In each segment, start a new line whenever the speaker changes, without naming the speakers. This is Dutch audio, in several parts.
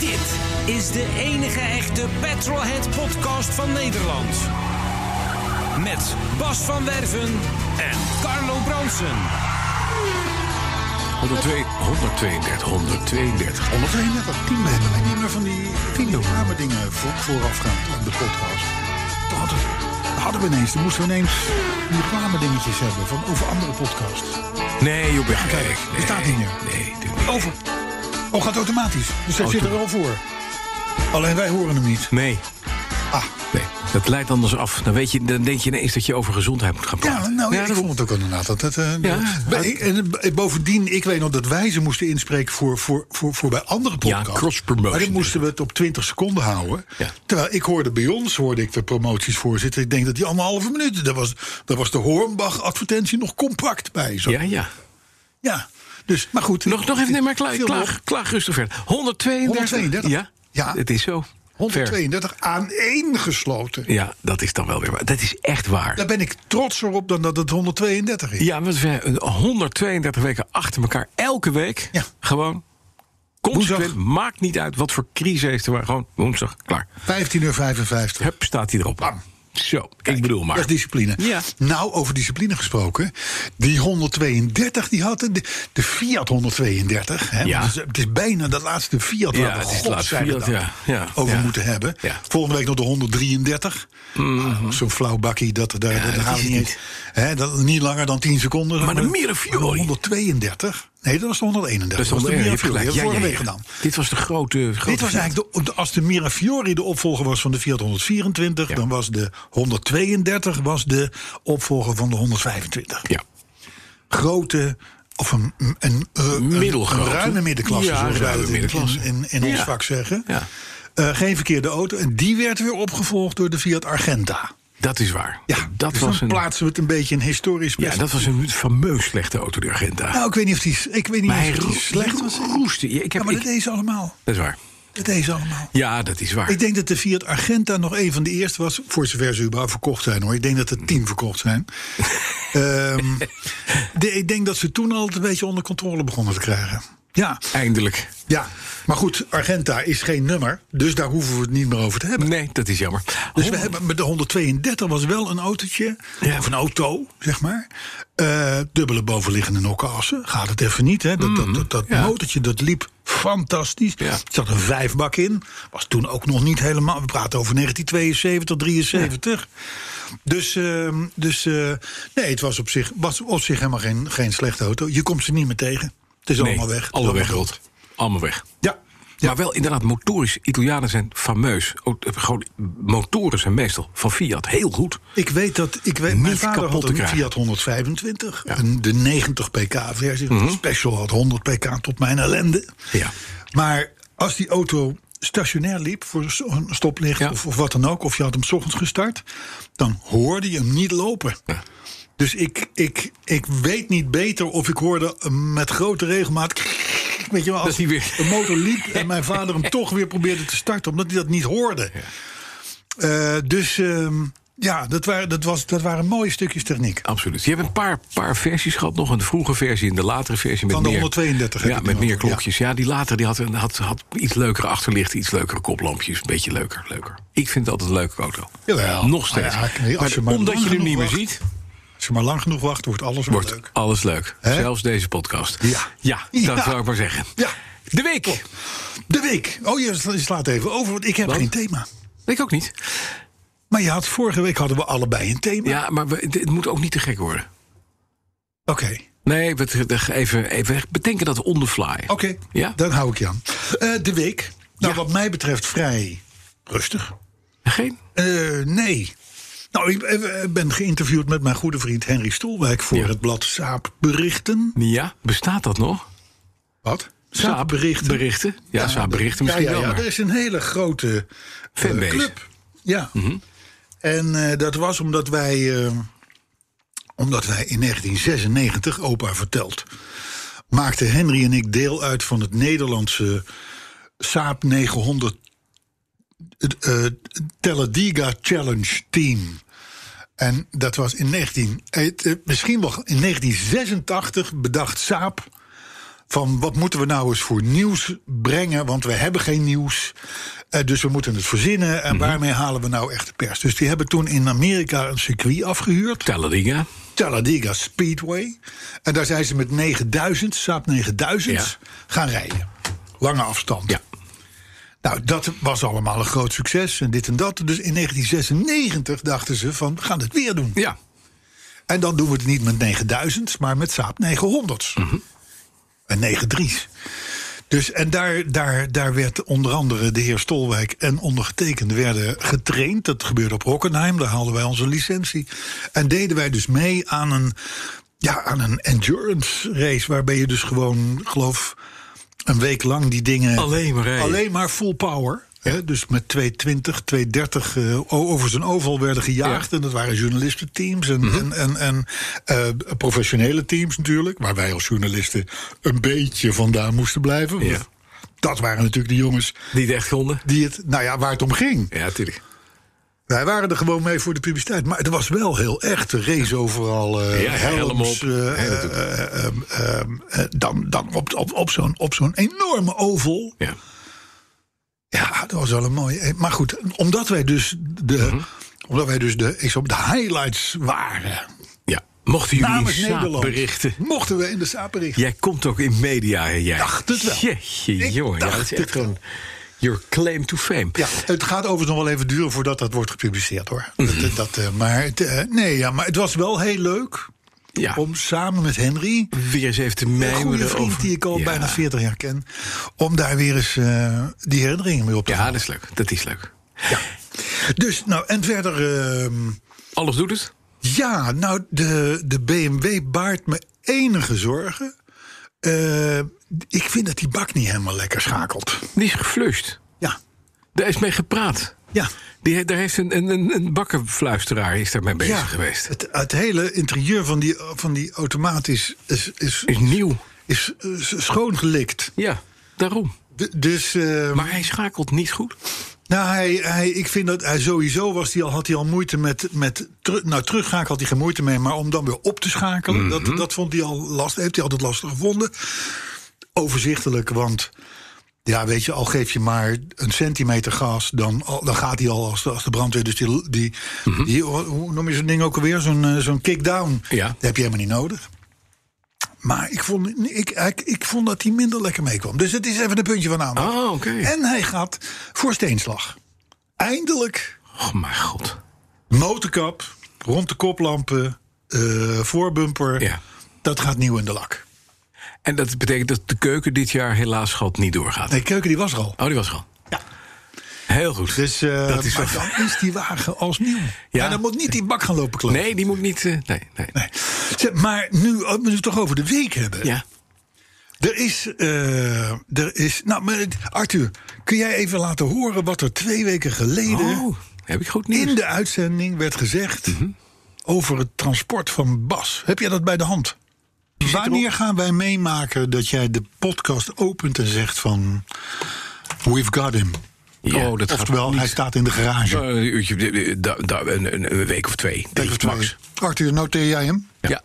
Dit is de enige echte Petrolhead podcast van Nederland. Met Bas van Werven en Carlo Bronsen.
102, 132, 132.
132, 10 hebben wij niet meer van die videokamer dingen voor, voorafgaand aan de podcast. Toen hadden, we- hadden we ineens, toen moesten we ineens die reclame dingetjes hebben van over andere podcasts.
Nee, joh, ben
Kijk,
nee,
er staat
nee,
niet meer.
Nee, dit niet.
Over. Oh, gaat automatisch. Dus dat zit er al voor. Alleen wij horen hem niet.
Nee,
Ah,
nee, dat leidt anders af. Dan, weet je, dan denk je ineens dat je over gezondheid moet gaan praten.
ja, nou, ik
daarom.
vond het ook inderdaad. Dat, dat, eh,
Ja.
dat- Bij- en, eh, bovendien, ik weet nog dat wij ze moesten inspreken voor, voor, voor, voor bij andere
Ja,
podcasts.
cross-promotion.
Maar dan moesten we het op 20 seconden houden.
Ja.
Terwijl ik hoorde bij ons, hoorde ik de promoties voorzitten. Ik denk dat die anderhalve minuut, daar was, daar was de Hornbach-advertentie nog compact bij. Zo.
Ja, ja.
Ja, Dus, maar goed.
Nog, nog even, nee, maar klaar,
Veel
klaar,
nog.
klaar rustig verder. 132.
132.
Ja,
Ja.
het is zo. Ver.
132 aaneengesloten.
Ja, dat is dan wel weer waar. Dat is echt waar.
Daar ben ik trotser op dan dat het 132 is.
Ja, want we zijn 132 weken achter elkaar. Elke week.
Ja.
Gewoon. Consequent. Maakt niet uit wat voor crisis heeft er maar. Gewoon woensdag. Klaar.
15 uur 55.
Hup, staat hij erop. Zo. ik bedoel maar.
Dat is discipline.
Ja.
Nou, over discipline gesproken. Die 132, die had de, de Fiat 132. Hè,
Ja.
want het, is, het is bijna de laatste Fiat
Ja,
waar we
het is de
God
laatste
zij
Fiat,
dank
ja. Ja,
over
ja.
moeten hebben.
Ja. Mhm.
Volgende week nog de 133. Ah, Zo'n flauw bakkie, dat, daar, daar
dat
hou
is
je niet
het
eens. Hè, dat, niet langer dan 10 seconden.
Maar de Mirafiori.
Maar de 132. Nee, dat was de 131.
Dat is toch
was de
een
Mirafiori.
gelijk.
Dat hebben we
Ja,
vorige
ja,
week
ja.
gedaan.
Dit was de grote. grote
Dit was
Fiat.
eigenlijk, de, de- als de Mirafiori de opvolger was van de Fiat 124...
Ja.
dan was de 132 was de opvolger van de 125.
Ja.
Grote, of een, een, een, eh, een-
Middelgrote.
een ruime middenklasse,
Ja,
zoals wij
ruime
dat in,
middenklasse.
in, in, in ons
Ja.
vak zeggen.
Ja.
Eh, geen verkeerde auto. En die werd weer opgevolgd door de Fiat Argenta.
Dat is waar.
Ja,
dat
dus
was
dan
een.
plaatsen we het een beetje in historisch
Ja, dat was een fameus slechte auto, de Agenda.
Nou, ik weet niet of die, ik weet niet
maar hij
of die
roest-
slecht was.
roestte. Ja, ik
Ja,
heb,
maar
ik-
dat deed ze allemaal.
dat is waar.
Dat deed ze allemaal.
Ja, dat is waar.
Ik denk dat de Fiat Argenta nog een van de eerste was. Voor zover ze überhaupt verkocht zijn hoor. Ik denk dat er tien verkocht zijn. Ehm, de- ik denk dat ze toen al het een beetje onder controle begonnen te krijgen. Ja,
Eindelijk.
ja. Maar goed, Argenta is geen nummer. Dus daar hoeven we het niet meer over te hebben.
Nee, dat is jammer.
Dus we
Honderd-
hebben, met de 132 was wel een autootje,
Ja.
of een auto, zeg maar. Eh, dubbele bovenliggende nokkassen, gaat het even niet. Hè? Dat, dat, dat, dat
Mhm. ja.
motortje, dat liep fantastisch.
Ja.
Er zat een vijfbak in, was toen ook nog niet helemaal... We praten over 1972, 73. Dus, ehm, dus eh, nee, het was op zich, was op zich helemaal geen, geen slechte auto. Je komt ze niet meer tegen. Het is
nee,
allemaal weg. Het is
Allemaal weg,
dood.
Rot. Allemaal weg.
Ja, ja.
Maar wel inderdaad, motorisch. Italianen zijn fameus. Ook, eh, gewoon, motoren zijn meestal van Fiat heel goed.
Ik weet dat ik weet, mijn
Niet
vader
kapot
had
te
een
krijgen.
Fiat 125, een, de 90 pk versie. De Special had 100 pk tot mijn ellende.
Mhm. Ja.
Maar als die auto stationair liep voor zo- een stoplicht
Ja.
of, of wat dan ook, of je had hem 's ochtends gestart, dan hoorde je hem niet lopen.
Ja.
Dus ik, ik, ik weet niet beter of ik hoorde eh, met grote regelmaat. Weet je wel, als
hij weer-
de motor liep en mijn vader hem toch weer probeerde te starten, omdat hij dat niet hoorde. Eh, dus ehm, ja, dat waren, dat, was, dat waren mooie stukjes techniek.
Absoluut. Je hebt een paar, paar versies gehad. Nog een vroege versie en de latere versie. Met
Van de
meer,
132 heb
Ja,
ik
met
nog,
meer
ja.
klokjes. Ja, die latere die had, een- had, had iets leukere achterlicht, iets leukere koplampjes. Een beetje leuker, leuker. Ik vind het altijd een leuke auto.
Jawel.
Nog steeds.
Maar ja, als je
Maar
maar
omdat
lang
je hem niet
genoeg
meer
wacht,
ziet,
Als je maar lang genoeg wacht, wordt alles wel
wordt
leuk.
alles leuk.
Hè?
Zelfs deze podcast.
Ja.
ja dat
Ja.
zou ik maar zeggen.
Ja.
De week.
De week. Oh, je sla- je slaat even over, want ik heb
Wat?
geen thema.
Ik ook niet.
Maar je had, vorige week hadden we allebei een thema.
Ja, maar we, het het moet ook niet te gek worden.
Oké,
Nee, we- we- even, even bedenken dat on the fly.
oké.
Ja?
Dan hou ik je aan. Eh, de week. Nou,
Ja.
wat mij betreft vrij rustig.
Geen?
Eh, nee. Nou, ik eh, ben geïnterviewd met mijn goede vriend Henry Stoelwijk voor
Ja.
het blad Saapberichten.
Ja, bestaat dat nog?
Wat?
Saapberichten.
Saapberichten.
Berichten? Ja, Saapberichten
Ja,
misschien
ja,
wel.
ja,
maar-
er is een hele grote eh,
Fanbase. Mhm.
club. Ja. En eh, dat was omdat wij, eh, omdat wij in 1996, opa vertelt, maakten Henry en ik deel uit van het Nederlandse Saab 900 het, eh Talladega Challenge Team. En dat was in 19, eh, eh, misschien wel in 1986 bedacht Saab van wat moeten we nou eens voor nieuws brengen, want we hebben geen nieuws. Eh, dus we moeten het verzinnen en waarmee halen we nou echt de pers? Dus die hebben toen in Amerika een circuit afgehuurd,
Talladega.
Talladega Speedway. En daar zijn ze met 9000, Saab 9000,
Ja.
gaan rijden. Lange afstand.
Ja.
Nou, dat was allemaal een groot succes en dit en dat. Dus in 1996 dachten ze van, we gaan dit weer doen.
Ja.
En dan doen we het niet met 9000, maar met Saab 900's.
Mhm.
En 93's. Dus, en daar, daar, daar werd onder andere de heer Stolwijk en ondergetekend werden getraind. Dat gebeurde op Hockenheim, daar haalden wij onze licentie. En deden wij dus mee aan een, ja, aan een endurance race... waarbij je dus gewoon, geloof een week lang die dingen...
Alleen maar rijden.
Alleen maar full power. Hè, dus met 220, 230 eh, o- over zijn oval werden gejaagd. En dat waren journalistenteams en,
Mhm.
en, en, en eh, professionele teams natuurlijk. Waar wij als journalisten een beetje vandaan moesten blijven.
Ja.
Want Dat waren natuurlijk de jongens
Die het echt konden.
die het, nou ja, waar het om ging.
Ja, natuurlijk.
Wij waren er gewoon mee voor de publiciteit. Maar het was wel heel echt. De Race overal. eh
Ja, helm op.
helms, eh,
Ja,
eh,
natuurlijk.
eh, ehm, ehm, eh, dan, dan op, op, op zo'n op zo'n enorme oval.
Ja.
Ja, dat was wel een mooie. eh, Maar goed, omdat wij dus de,
Mhm.
omdat wij dus de, ik zou op de highlights waren.
ja. Mochten jullie
Namens
Saab
Nederland.
berichten.
Mochten we in de Saab berichten.
Jij komt ook in media, hè, jij.
Dacht het wel.
Jeetje,
Ik
jongen. Ja,
dacht
dat is echt
het
gewoon your claim to fame.
Ja, het gaat overigens nog wel even duren voordat dat wordt gepubliceerd hoor.
Mhm.
Dat, dat, eh, maar, het, eh, nee, ja, maar het was wel heel leuk
Ja.
om samen met Henry,
Weer eens even te
een
mijmeren
goede vriend
over-
die ik al
Ja.
bijna 40 jaar ken, om daar weer eens eh, die herinneringen mee op te
Ja,
halen.
dat is leuk. Dat is leuk.
Dus, nou, en verder. ehm,
Alles doet het.
Ja, nou, de, de BMW baart me enige zorgen. Eh, ik vind dat die bak niet helemaal lekker schakelt.
Die is geflushed.
Ja,
Daar is mee gepraat.
ja.
Die, daar heeft een, een- een, een bakkenfluisteraar is daarmee bezig
ja.
geweest.
Het, het hele interieur van die, van die automaat is, is, is,
Is nieuw.
is, is schoongelikt.
Ja, daarom.
D- dus, eh,
Maar hij schakelt niet goed.
nou, hij, hij, ik vind dat hij sowieso was die al, had hij al moeite met, met teru- nou, terugschakelen had hij geen moeite mee, maar om dan weer op te schakelen, dat, dat vond hij al lastig, heeft hij altijd lastig gevonden. Overzichtelijk, want Ja, weet je, al geef je maar een centimeter gas, dan, al- dan gaat hij al als de, als de brandweer. Dus die, die, die- hoe noem je zo'n ding ook alweer? Zo'n eh, zo'n kickdown.
Ja.
Dat heb je helemaal niet nodig. Maar ik vond, ik, ik, ik vond dat hij minder lekker meekwam. Dus het is even een puntje van aandacht.
Ah, oké.
En hij gaat voor steenslag. Eindelijk
Oh, mijn god.
motorkap, rond de koplampen, eh, voorbumper.
Ja.
Dat gaat nieuw in de lak.
En dat betekent dat de keuken dit jaar helaas schat niet doorgaat.
Nee, keuken die was er al.
Oh, die was er al. Heel goed.
Dus eh,
dat is wel...
maar dan is die wagen als nieuw.
Ja.
Ja. En dan moet niet die bak gaan lopen kloppen.
Nee, die moet niet... eh, nee, nee.
maar nu, oh, we moeten het toch over de week hebben.
Ja.
Er is, eh, er is, nou, maar het- Arthur, kun jij even laten horen wat er twee weken geleden
Oh, heb ik goed nieuws.
in de uitzending werd gezegd over het transport van Bas? Heb jij dat bij de hand? Wanneer gaan wij meemaken dat jij de podcast opent en zegt van, we've got him?
Ja, Oh, dat gaat
Oh, Oftewel, hij staat in de garage.
Eh, een uurtje, eh, eh, da- da- een, een- een week of twee. Drie,
Tegen
max.
Arthur, noteer jij hem?
Ja.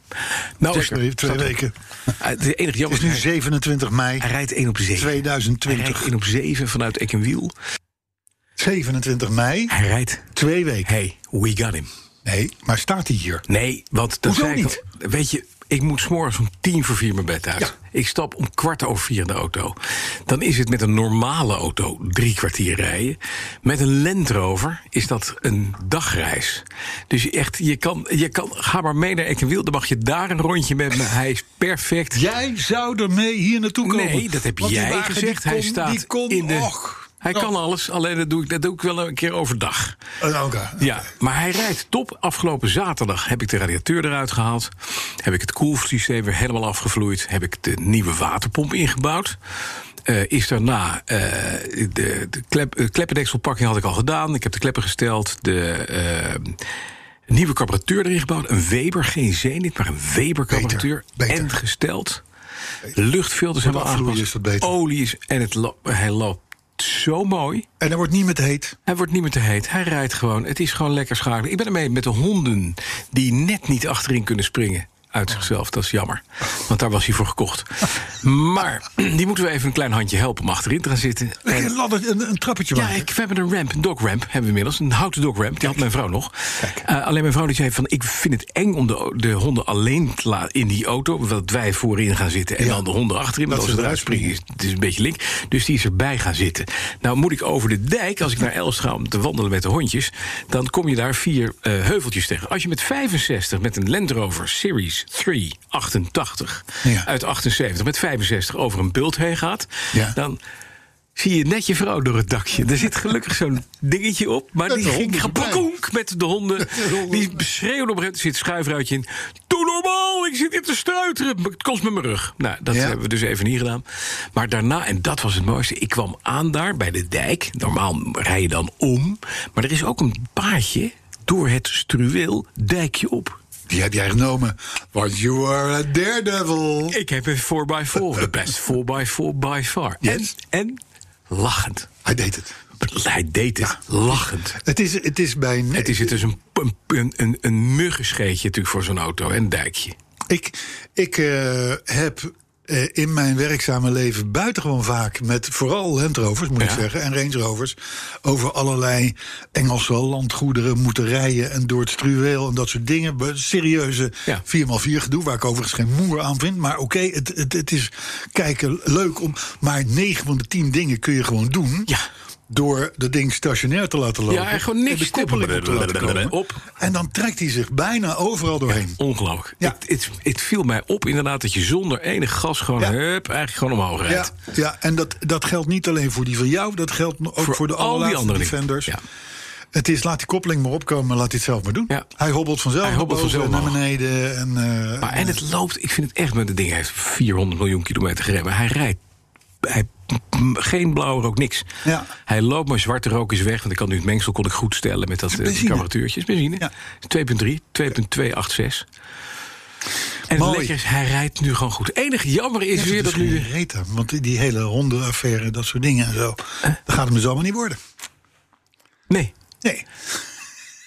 Nou,
Twee,
is er-
twee, twee
staat er-
weken.
Ah, Het enige jammer
Het
is
is nu
hij-
27 mei
Hij rijdt 1 op 7. Hij rijdt
2020.
1 op 7 vanuit Eck en Wiel.
27 mei,
Hij rijdt.
twee weken.
Hey, we got him.
Nee, maar staat hij hier?
Nee, want dat
Hoezo
zei ik al. Weet je, ik moet s'morgens om tien voor vier mijn bed uit.
Ja.
Ik stap om kwart over vier in de auto. Dan is het met een normale auto drie kwartier rijden. Met een Land Rover is dat een dagreis. Dus echt, je kan, je kan ga maar mee naar Eck en Wiel. Dan mag je daar een rondje met me. Hij is perfect.
Jij zou ermee hier naartoe komen.
Nee, dat heb
Want die
jij
wagen, die
gezegd. Hij
kon-
staat
die kon,
in de.
och. Oh.
Hij kan alles, alleen dat doe, ik, dat doe ik wel een keer overdag.
Eh, oké.
Ja, maar hij rijdt top. Afgelopen zaterdag heb ik de radiateur eruit gehaald. Heb ik het koelsysteem weer helemaal afgevloeid. Heb ik de nieuwe waterpomp ingebouwd. Eh, is daarna eh, de, de klep, eh, kleppendekselpakking had ik al gedaan. Ik heb de kleppen gesteld. De eh, nieuwe carburateur erin gebouwd. Een Weber, geen Zenit, maar een Weber carburateur.
beter.
En gesteld. Luchtfilters hebben we
afvloeien
aangepast.
is dat beter.
Olie is... En het lo- hij loopt zo mooi.
En hij wordt niet met heet.
Hij wordt niet meer te heet. Hij rijdt gewoon. Het is gewoon lekker schakelen. Ik ben ermee met de honden die net niet achterin kunnen springen. Uit zichzelf, dat is jammer. Want daar was hij voor gekocht. Maar die moeten we even een klein handje helpen om achterin te gaan zitten. En-
Een, ladder, een, een trappetje
ja,
maken.
ik, we hebben een ramp, een dog ramp hebben we inmiddels. Een houten dog ramp, die had mijn vrouw nog. Eh, alleen mijn vrouw die zei van, ik vind het eng om de, o- de honden alleen te laten in die auto. Dat wij voorin gaan zitten en
Ja.
dan de honden achterin. Want
Dat
als
ze
ze eruit
eruit
springen is het is een beetje link. Dus die is erbij gaan zitten. Nou moet ik over de dijk, als ik naar Els ga om te wandelen met de hondjes... dan kom je daar vier eh, heuveltjes tegen. Als je met 65 met een Land Rover Series 3 88
Ja.
uit 78... met 65 over een bult heen gaat,
Ja.
dan zie je net je vrouw door het dakje. Er zit gelukkig zo'n dingetje op, maar
Met
die
de
ging
honden erbij.
gepakonk met de honden. Die beschreeuwde op een gegeven moment, er zit schuifruitje in. Doe normaal, ik zit hier te stuiteren. maar Het kost me mijn rug. Nou, dat
Ja.
hebben we dus even niet gedaan. Maar daarna, en dat was het mooiste, ik kwam aan daar bij de dijk. Normaal rij je dan om, maar er is ook een paadje door het struweel dijkje op.
Die heb jij genomen. Want you are a daredevil.
Ik heb een 4x4, de best 4x4 by far.
Yes.
En, en lachend.
Hij deed het.
Hij deed het lachend.
Het is, het is bij...
Het is, het is een, een, een, een, een muggenscheetje natuurlijk voor zo'n auto en een dijkje.
Ik, ik eh, heb eh, in mijn werkzame leven buitengewoon vaak met vooral Land Rovers, moet ik
Ja.
zeggen, en Range Rovers, over allerlei Engelse landgoederen moeten rijden en door het struweel en dat soort dingen. Be- Serieuze
Ja.
4x4 gedoe, waar ik overigens geen moer aan vind. Maar oké, het, het, het is kijken leuk om. Maar 9 van de 10 dingen kun je gewoon doen.
Ja.
Door dat ding stationair te laten lopen.
Ja, en gewoon niks
de koppeling op te laten komen.
op.
En dan trekt hij zich bijna overal doorheen.
Ongelooflijk.
Ja.
Het, het, het viel mij op inderdaad dat je zonder enig gas gewoon,
Ja.
hup, eigenlijk gewoon omhoog
Ja,
rijdt.
ja en dat, dat geldt niet alleen voor die van jou, dat geldt ook voor, de
al die
allerlaatste
andere dingen.
defenders.
Ja.
Het is, laat die koppeling maar opkomen, en laat hij het zelf maar doen.
Ja.
Hij hobbelt vanzelf
Hij hobbelt
naar boven
vanzelf
en naar beneden. En, eh,
Maar, en het loopt, ik vind het echt, met het ding heeft 400 miljoen kilometer gereden. maar Hij rijdt, hij, m- geen blauwe rook, niks.
Ja.
Hij loopt, maar zwarte rook is weg. Want ik kan nu het mengsel kon ik goed stellen met dat eh, die
benzine.
carburateurtje. Het is benzine.
Ja.
Het is 2,3, 2,286. En het
Mooi.
lekker is, hij rijdt nu gewoon goed. Het enige jammer is
ja,
weer
het
dat
is
nu...
geen reet aan, want die- die hele hondenaffaire, dat soort dingen en zo. Dat gaat hem dus allemaal niet worden.
Nee.
Nee.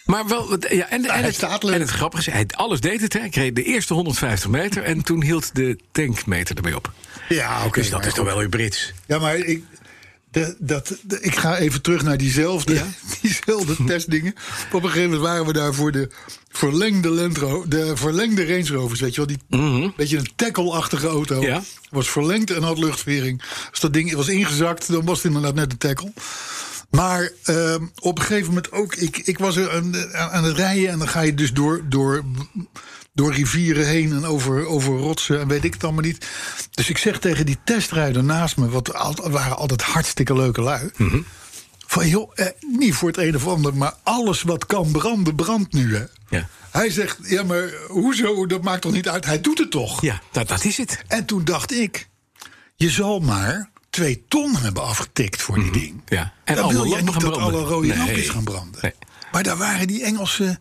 Maar wel, het- ja, en, en,
Nou, hij
het,
staat leuk.
en het grappige is, hij, alles deed het. Hè. Ik reed de eerste 150 meter en toen hield de tankmeter ermee op.
Ja, oké.
dus dat
maar
is toch wel weer Brits.
Ja, maar ik, de, dat, de- ik ga even terug naar diezelfde, diezelfde testdingen. Op een gegeven moment waren we daar voor de verlengde, Land Ro- de verlengde Range Rovers. Weet je wel, die beetje een tackle-achtige auto.
Ja.
Was verlengd en had luchtvering. Als dat ding was ingezakt, dan was het inderdaad net een tackle. Maar ehm, op een gegeven moment ook, ik, ik was er aan, aan- aan het rijden en dan ga je dus door, door, door rivieren heen en over, over rotsen en weet ik het allemaal niet. Dus ik zeg tegen die testrijder naast me, wat al- waren altijd hartstikke leuke lui. Van joh, eh, niet voor het een of ander, maar alles wat kan branden, brandt nu hè.
Ja.
Hij zegt, ja maar hoezo, dat maakt toch niet uit, hij doet het toch.
Ja, dat, dat is het.
En toen dacht ik, je zal maar twee ton hebben afgetikt voor die ding.
Mhm. Ja. En
En dan
alle
wil jij
lampen
niet
gaan
dat
branden.
alle rode
Nee.
lampjes gaan branden.
Nee.
Maar daar waren die Engelsen... eh,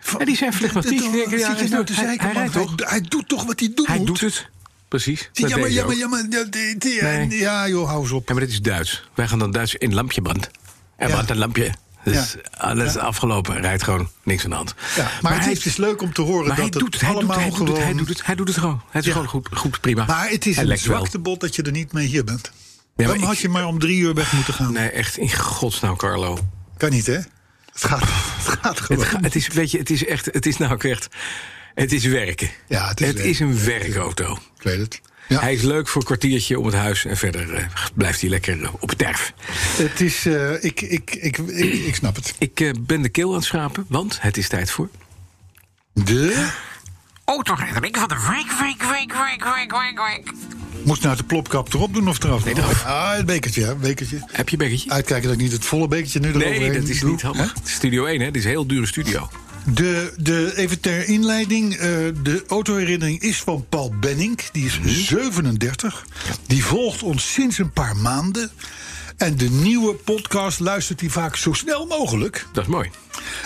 van-
Ja, die zijn flegmatiek.
Dit-
Die denken, ja,
zit je
hij
nou
doet-
te
hij-
zeiken,
hij
man?
rijdt
hij,
toch?
hij doet toch wat hij doen
Hij
moet?
doet het. Precies.
Ja,
Dat
maar,
deed
ja,
hij
maar,
ook.
ja, maar, ja, die- die-
Nee.
ja, joh, hou eens op.
Ja, maar dit is Duits. Wij gaan dan Duits in lampje branden. Er
Ja.
brandt een lampje. Dus
Ja.
alles is afgelopen. Rijdt gewoon niks aan de hand.
Ja, maar, het
hij-
is dus leuk om te horen
Maar
dat
hij
het
doet, het, hij, doet,
allemaal
hij, doet het,
gewoon...
hij doet het. Hij doet het gewoon. Het is
Ja.
gewoon goed, goed, prima.
Maar het is
Hij
een
lekt wel.
zwakte bot dat je er niet mee hier bent.
maar
Dan
ik-
had je maar om drie uur weg moeten gaan.
Nee, echt in godsnaam, Carlo.
Kan niet, hè? Het gaat, het gaat gewoon.
Het, ga- het is, weet je, het is echt, het is nou ook echt, het is werken.
Ja, het is werken.
een werkauto.
Ik weet het. Ja.
Hij is leuk voor een kwartiertje om het huis en verder eh, blijft hij lekker eh, op het erf.
Het is, eh, ik, ik, ik, ik, ik snap het.
Ik eh, ben de keel aan het schrapen, want het is tijd voor.
De
Oh, autoherinnering van de week, week, week, week, week, week, week.
Moest nou de plopkap erop doen of eraf?
Nee, eraf.
Ah, het bekertje, hè, bekertje.
Heb je een bekertje?
Uitkijken dat ik niet het volle bekertje nu eroverheen
Nee, dat is
doe,
niet handig.
hè?
Studio 1, hè? Dit is een heel dure studio.
De, de, even ter inleiding, eh, de autoherinnering is van Paul Benning. Die
Mhm.
is 37. Die volgt ons sinds een paar maanden. En de nieuwe podcast luistert hij vaak zo snel mogelijk.
Dat is mooi.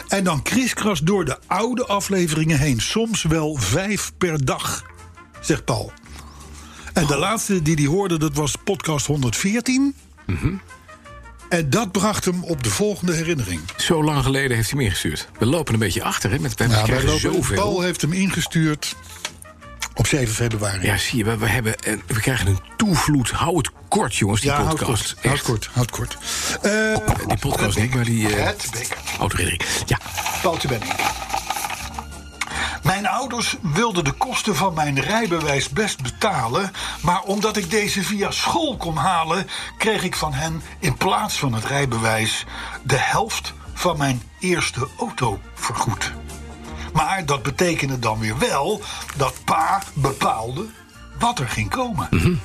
En dan kriskras door de oude afleveringen heen. Soms wel vijf per dag, zegt Paul. En de laatste die die hoorde, dat was podcast 114.
Mhm.
En dat bracht hem op de volgende herinnering.
Zo lang geleden heeft hij meer gestuurd. We lopen een beetje achter, hè? Met, we
Ja, wij
krijgen
lopen-
zoveel.
Paul heeft hem ingestuurd op 7 februari.
Ja, zie je, we, we hebben, en we krijgen een toevloed. Hou het kort, jongens, die
Ja, houd
podcast.
kort.
Echt.
Houd kort, houd kort. Eh,
Die podcast niet, maar die... eh
Het beker.
autoherinnering. Ja,
Wouter ben ik. Mijn ouders wilden de kosten van mijn rijbewijs best betalen, maar omdat ik deze via school kon halen, kreeg ik van hen in plaats van het rijbewijs de helft van mijn eerste auto vergoed. Maar dat betekende dan weer wel dat pa bepaalde wat er ging komen.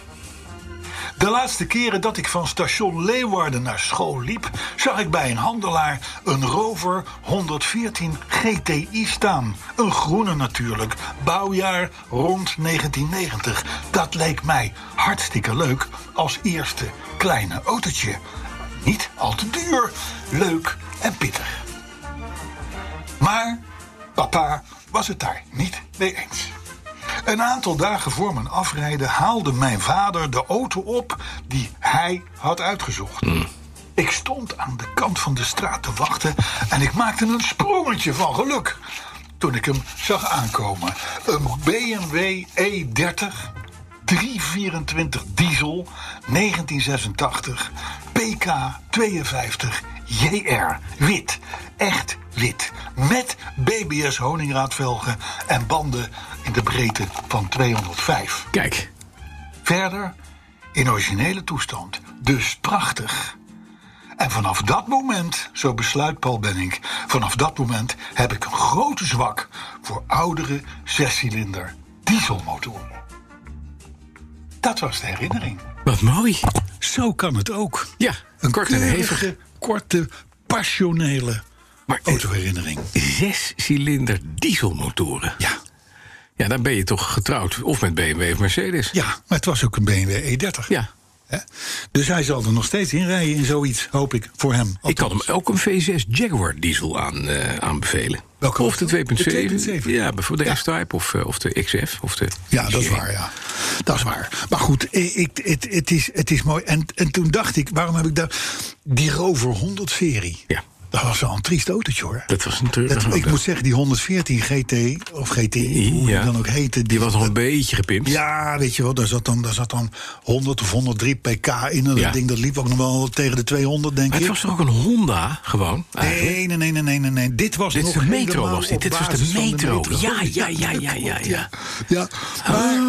De laatste keren dat ik van station Leeuwarden naar school liep, zag ik bij een handelaar een Rover 114 GTI staan. Een groene natuurlijk, bouwjaar rond 1990. Dat leek mij hartstikke leuk als eerste kleine autootje. Niet al te duur, leuk en pittig. Maar papa was het daar niet mee eens. Een aantal dagen voor mijn afrijden haalde mijn vader de auto op die hij had uitgezocht. Ik stond aan de kant van de straat te wachten en ik maakte een sprongetje van geluk toen ik hem zag aankomen. Een BMW E30 324 diesel 1986 PK 52 JR wit echt wit met BBS honingraadvelgen en banden in de breedte van 205
kijk.
verder in originele toestand. Dus prachtig. En vanaf dat moment, zo besluit Paul Benning, vanaf dat moment heb ik een grote zwak voor oudere zescilinder dieselmotoren. Dat was de herinnering.
Wat mooi.
Zo kan het ook.
Ja, kort en hevig.
korte, passionele
Maar
Oh,
eh,
autoherinnering.
zes cilinder dieselmotoren.
Ja.
Ja, dan ben je toch getrouwd. Of met BMW of Mercedes.
ja, maar het was ook een BMW E30.
Ja.
E Hè? Dus hij zal er nog steeds in rijden in zoiets, hoop ik, voor hem.
Ik kan hem ook een V6 Jaguar diesel aan, eh, aanbevelen.
Welke
of de
auto?
2.7.
De 2.7.
Ja, bijvoorbeeld de
Ja.
S-Type of, eh, of de XF. Of de
Ja, dat is
GR.
waar, ja. Dat is waar. Maar goed, eh, ik, het, het, is, het is mooi. En, en toen dacht ik, waarom heb ik daar... Die Rover 100 serie.
Ja.
Dat was wel een triest autootje, hoor.
Dat was een treurige
Dat- Ik
auto.
moet zeggen, die 114 GT, of GTI, hoe
Ja.
die dan ook heette...
Die was nog een beetje gepimpt.
Ja, weet je wel, daar zat dan, daar zat dan 100 of 103 pk in. En
Ja.
dat ding dat liep ook nog wel tegen de 200, denk
Maar het
ik.
was toch ook een Honda, gewoon? eigenlijk?
Nee, nee, nee, nee, nee, nee, nee. Dit was
Dit is
nog
de metro
helemaal
was dit.
op
Dit was de
basis van
metro. Ja, ja, ja, ja, ja, ja.
Ja, maar,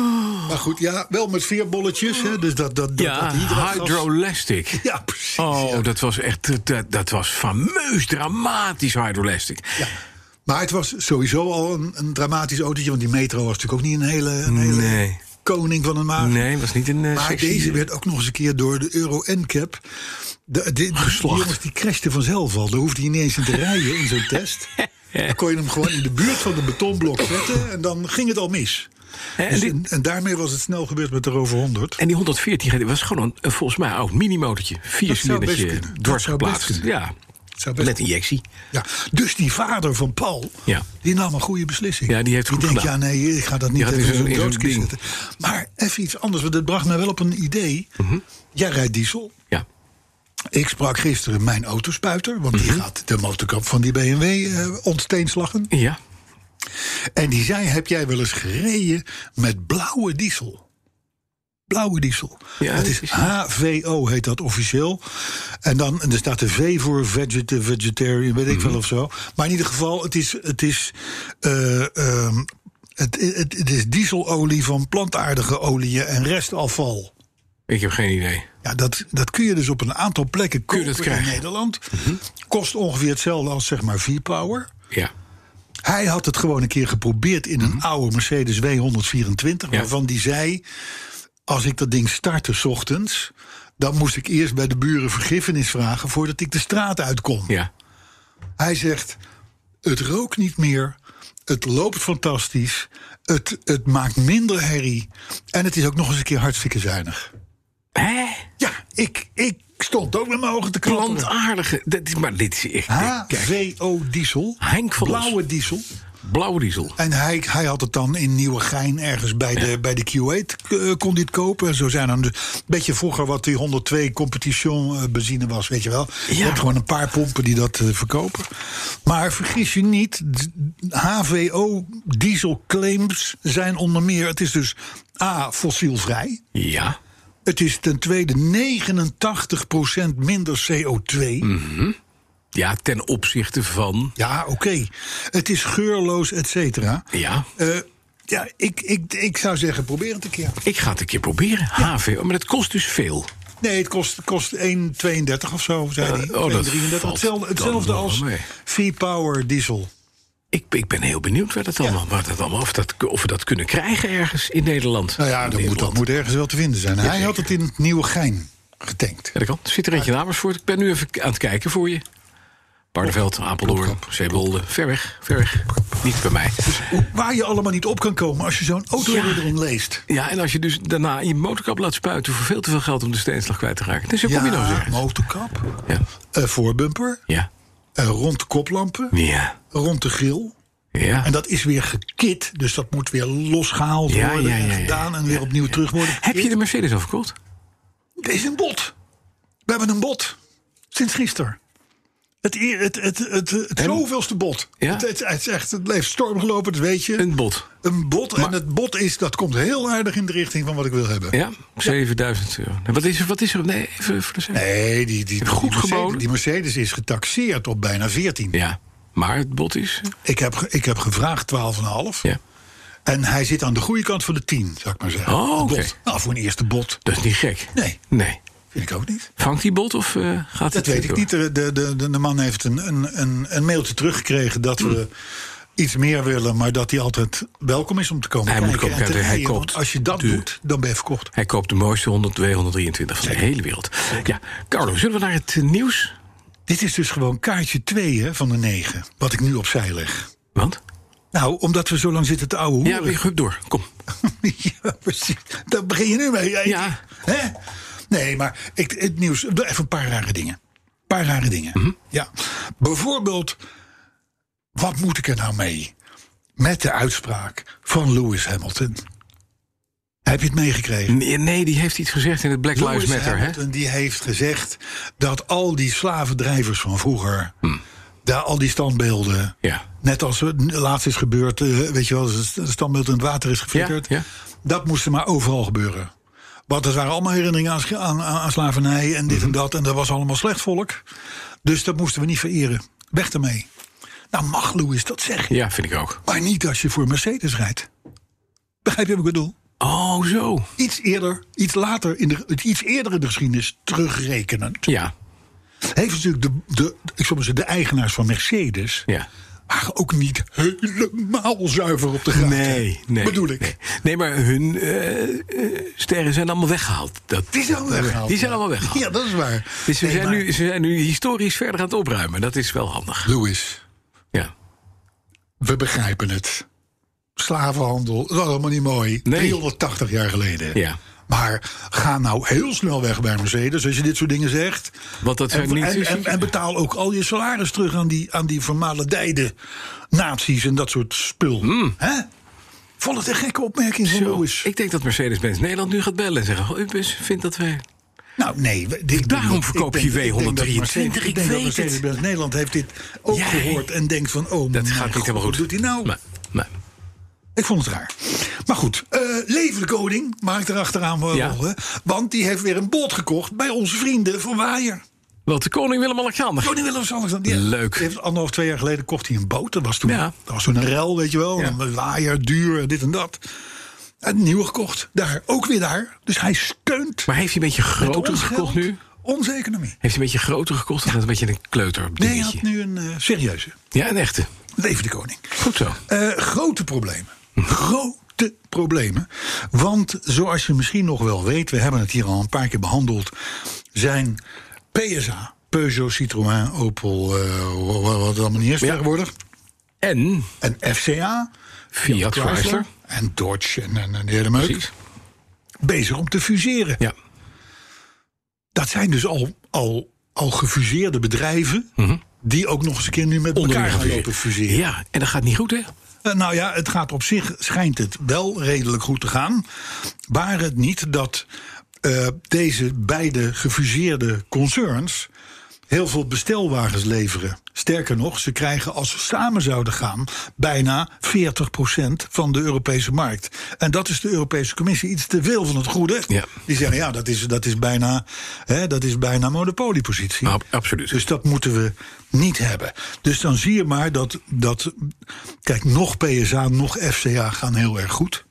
maar goed, ja, wel met veerbolletjes. Hè, dus dat, dat, dat,
Ja,
dat hydragas-
hydrolastic.
Ja, precies.
Oh,
ja.
dat was echt, dat, dat was fameus, dramatisch hydrolastic.
Ja. Maar het was sowieso al een, een dramatisch autootje. Want die metro was natuurlijk ook niet een hele, een hele
Nee.
koning van een maag.
Nee, was niet een eh,
Maar
sexy-
deze werd ook nog eens een keer door de Euro NCAP... De, de, die
Geslacht.
jongens, die crashte vanzelf al. Daar hoefde hij niet eens in te rijden in zo'n test. Dan kon je hem gewoon in de buurt van de betonblok zetten... en dan ging het al mis.
Hè, en,
Dus
dit-
en, en daarmee was het snel gebeurd met de Rover 100.
en die 114 graden was gewoon een, een volgens mij oud minimotortje. Vier
Dat zou best
cilindertje
kunnen. Dat
dwars
zou best
geplaatst.
kunnen.
Ja,
Zou best
met injectie.
Ja, dus die vader van Paul,
Ja.
die nam een goede beslissing.
Ja, die heeft goed
denkt,
gedaan.
ja nee, ik ga dat
Die
niet
gaat
even
in
in
zo'n-
zo'n
in zo'n
doodskist
ding.
zetten. Maar even iets anders, want dat bracht mij wel op een idee.
Mhm.
Jij rijdt diesel.
Ja.
Ik sprak gisteren mijn autospuiter, want
Mhm.
die gaat de motorkap van die BMW eh ontsteenslagen.
ja.
En die zei, heb jij wel eens gereden met blauwe diesel? Blauwe diesel.
Ja,
dat
dat
is
is-
HVO, heet dat officieel. En dan en er staat de V voor vegeta- vegetarian, weet ik
Mhm.
wel of zo. Maar in ieder geval, het is, het is, eh, ehm, het, het, het is dieselolie van plantaardige oliën en restafval.
Ik heb geen idee.
Ja, dat, dat kun je dus op een aantal plekken
Kun je
kopen
dat
in
krijgen? Mhm.
Nederland. Kost ongeveer hetzelfde als zeg maar V-Power.
Ja.
Hij had
Mhm.
het gewoon een keer geprobeerd in een oude Mercedes W124, waarvan die zei: als ik dat ding startte 's ochtends, dan moest ik eerst bij de buren vergiffenis vragen voordat ik de straat uitkom.
Ja.
Hij zegt: Het rookt niet meer. Het loopt fantastisch. Het, het maakt minder herrie. En het is ook nog eens een keer hartstikke zuinig.
Hè?
Ja, ik, ik stond ook met mijn ogen te klanten.
Plantaardige. Dat is, maar dit is echt. Kijk,
HVO diesel.
Henk van Os.
Blauwe diesel.
blauw diesel.
En hij, hij had het dan in Nieuwegein ergens bij de, bij de Q8 eh, kon hij het kopen. En zo zijn dan een beetje vroeger wat die 102 competition eh, benzine was, weet je wel. Je
Ja.
hebt gewoon een paar pompen die dat eh, verkopen. Maar vergis je niet, d- HVO dieselclaims zijn onder meer... Het is dus A, fossielvrij.
Ja.
Het is ten tweede 89% minder CO2.
Mm. Ja, ten opzichte van.
Ja, oké. Het is geurloos, et cetera.
Ja.
Eh, ja, ik, ik, ik zou zeggen, probeer het een keer.
Ik ga het een keer proberen. HVO. Maar dat kost dus veel.
Nee, het kost, kost 1,32 of zo, zei hij.
oh, dat
1,33.
valt
hetzelfde
dan
hetzelfde
nog
als
wel mee.
V-Power diesel.
Ik, ik ben heel benieuwd waar dat allemaal, waar dat allemaal of, dat, of we dat kunnen krijgen ergens in Nederland.
Nou ja,
In
dat moet, dat
Nederland.
moet ergens wel te vinden zijn. Hij had het in het Nieuwe Gein getankt.
Ja, dat kan. Er zit er eentje namens voor. Ik ben nu even aan het kijken voor je. Barneveld,
Oh,
Apeldoorn, Zeewolde. Ver weg, ver weg. Niet bij mij.
Waar je allemaal niet op kan komen als je zo'n auto
Ja.
erin leest.
Ja, en als je dus daarna je motorkap laat spuiten... voor veel te veel geld om de steenslag kwijt te raken. Dus zo kom je nou
Ja,
zeggen.
motorkap,
Ja,
eh, voorbumper,
ja,
eh, rond de koplampen,
ja,
rond de grill.
ja.
En dat is weer gekit, dus dat moet weer losgehaald
Ja,
worden
ja, ja,
en
ja.
gedaan en weer opnieuw terug worden.
Heb je de Mercedes al verkocht?
Er is een bot. We hebben een bot. Sinds gisteren. Het, eer- het, het, het, het, zoveelste bot.
Ja?
Het, het, het is echt, het leeft stormgelopen, dat weet je. Een,
Een bot.
bot. en het bot is, dat komt heel aardig in de richting van wat ik wil hebben.
Ja, 7000 euro. Nou, Wat is er? Wat is er? Nee, even voor de zekerheid.
Nee, die, die,
Goed
die, Mercedes,
geboden.
die Mercedes is getaxeerd op bijna 14.
Ja, maar het bot is...
Ik, heb, ge- ik heb gevraagd 12,5.
Ja.
En hij zit aan de goede kant van de 10, zou ik maar zeggen.
Oh,
Het bot.
oké.
Nou, voor een eerste bot.
Dat is niet gek.
Nee,
Nee.
vind ik ook niet.
Vangt die bot of eh, gaat het
Dat weet ik
door?
niet. De, de, de, de man heeft een, een, een, een mailtje teruggekregen dat we iets meer willen, maar dat hij altijd welkom is om te komen.
Hij moet
kijken
komen
en te
kijken, hij
rijden, want
koopt
Als je dat
duur.
doet, dan ben je verkocht.
Hij koopt de mooiste 100, 223 van de hele wereld. Ja, Carlo, zullen we naar het eh, nieuws?
Dit is dus gewoon kaartje 2 hè, van de 9, wat ik nu opzij leg.
Want?
Nou, omdat we zo lang zitten te ouwe
Ja,
hoeren.
weer goed door. Kom.
Ja, precies. Daar begin je nu mee. hè?
Ja.
Hè? Nee, maar ik, het nieuws. Even een paar rare dingen. Een paar rare dingen.
Mhm.
Ja. Bijvoorbeeld, wat moet ik er nou mee? Met de uitspraak van Lewis Hamilton. Heb je het meegekregen?
Nee, nee, die heeft iets gezegd in het Black Lives
Lewis
Matter, hè?
Hamilton die heeft gezegd dat al die slavendrijvers van vroeger,
Mhm.
daar al die standbeelden,
Ja.
net als er laatst is gebeurd, eh, weet je wel, als het standbeeld in het water is geflikkerd,
Ja, ja.
dat moest er maar overal gebeuren. Want het waren allemaal herinneringen aan, scha- aan, aan aan slavernij en dit
Mhm.
en dat, en dat was allemaal slecht volk. Dus dat moesten we niet vereren. Weg ermee. Nou mag Louis dat zeggen,
Ja, vind ik ook.
maar niet als je voor Mercedes rijdt. Begrijp je wat ik bedoel?
Oh, zo.
iets eerder, iets later in de, iets eerder in de geschiedenis terugrekenend.
Ja,
Heeft natuurlijk de, de, ik zal maar zeggen, de eigenaars van Mercedes
ja.
waren ook niet helemaal zuiver op de graad. Bedoel ik.
Nee, Nee, maar hun eh, eh, sterren zijn allemaal weggehaald. Dat,
Die zijn allemaal weggehaald.
Die zijn
ja.
allemaal weggehaald.
Ja, dat is waar.
Dus ze,
Nee,
zijn
maar-
nu, ze zijn nu historisch verder aan het opruimen. Dat is wel handig.
Louis,
Ja.
we begrijpen het. Slavenhandel, dat was allemaal niet mooi.
Nee.
380 jaar geleden.
Ja.
Maar ga nou heel snel weg bij Mercedes als je dit soort dingen zegt.
Want dat zijn
en,
niet...
en, en, en betaal ook al je salaris terug aan die, aan die vermaledijde nazi's en dat soort spul. Hè? Vond het een gekke opmerking van
Hmm. Zo.
Louis.
Ik denk dat Mercedes-Benz Nederland nu gaat bellen en zeggen... "Goh, Ubus vindt dat wij...
nou, nee. we- dit-
Daarom
ik
verkoop
denk-
je
ik denk dat
W123,
Mercedes-
ik
denk dat
weet het.
Mercedes-Benz Nederland heeft dit ook
Jij.
gehoord en denkt van... Oh,
Dat
mijn
gaat niet
God,
helemaal goed.
Wat doet hij nou?
Nee, nee.
Ik vond het raar. Maar goed, eh leven de koning, maak ik erachteraan wel.
Ja.
hè, Want die heeft weer een boot gekocht bij onze vrienden van Waaier.
Want de koning Willem-Alexander...
Koning Willem-Alexander. die-
Leuk.
die Heeft anderhalf, twee jaar geleden kocht hij een boot. Dat was toen,
Ja.
dat was toen een rel, weet je wel.
Ja.
Een waaier, duur, dit en dat. Een nieuwe gekocht. Daar, ook weer daar. Dus hij steunt
Maar heeft hij een beetje groter
ons
gekocht
geld
nu?
onze economie.
Heeft hij een beetje groter gekocht? Of is dat een beetje een kleuter
Nee, hij
dingetje?
had nu een eh, serieuze.
Ja, een echte.
Leven de koning.
Goed zo.
Eh, grote problemen. Grote de problemen. Want zoals je misschien nog wel weet, we hebben het hier al een paar keer behandeld, zijn PSA, Peugeot, Citroën, Opel, eh, wa- wa- wat het allemaal niet is
Ja.
tegenwoordig,
En
en FCA,
Fiat Chrysler.
en Dodge en, en, en de hele meuk,
Precies.
bezig om te fuseren.
Ja.
Dat zijn dus al, al, al gefuseerde bedrijven. Die ook nog eens een keer nu met elkaar gaan
Mhm. gefuseerd.
lopen fuseren.
Ja, en dat gaat niet goed, hè?
Eh, Nou ja, het gaat op zich, schijnt het wel redelijk goed te gaan. Waar het niet dat eh, deze beide gefuseerde concerns heel veel bestelwagens leveren. Sterker nog, ze krijgen als ze samen zouden gaan bijna 40% van de Europese markt. En dat is de Europese Commissie iets te veel van het goede.
Ja.
Die zeggen ja, dat is, dat is bijna, hè, dat is bijna monopoliepositie.
Ab- absoluut.
Dus dat moeten we niet hebben. Dus dan zie je maar dat, dat kijk, nog PSA, nog FCA gaan heel erg goed.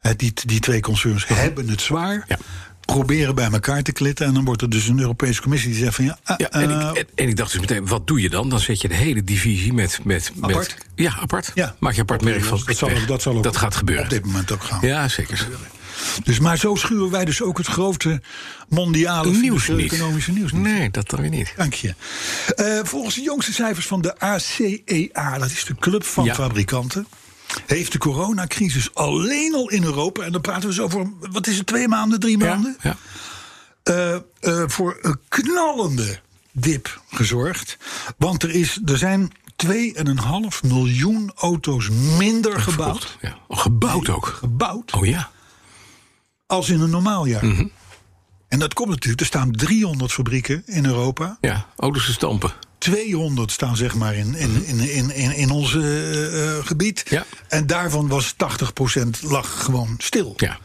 Hè, die, die twee concerns hebben het zwaar.
Ja.
Proberen bij elkaar te klitten. En dan wordt er dus een Europese commissie die zegt van ja, eh,
Ja, en,
eh,
ik, en, en ik dacht dus meteen, wat doe je dan? Dan zet je de hele divisie met... met, met
Apart.
ja, apart.
Ja.
Maak je apart merk van.
dat, zal, ook-
weg.
dat zal ook
dat gaat gebeuren.
op dit moment ook gaan.
Ja, zeker.
Dus, maar zo schuwen wij dus ook het grote mondiale
Nieuws
financiële
niet.
economische nieuws niet.
Nee, dat dan weer niet.
Dank je. Eh, volgens de jongste cijfers van de ACEA, dat is de Club van
Ja.
Fabrikanten, heeft de coronacrisis alleen al in Europa, en dan praten we zo over, wat is het, twee maanden, drie maanden?
Ja.
eh, eh, voor een knallende dip gezorgd. Want er, is, er zijn 2,5 miljoen auto's minder gebouwd.
Ja. Oh, gebouwd ook.
Gebouwd
Oh ja.
als in een normaal jaar.
Mhm.
En dat komt natuurlijk, er staan 300 fabrieken in Europa.
Ja, auto's te stampen.
200 staan zeg maar in, in, in, in, in, in ons eh, eh, gebied.
Mhm. Ja.
En daarvan was 80% lag gewoon stil.
Ja.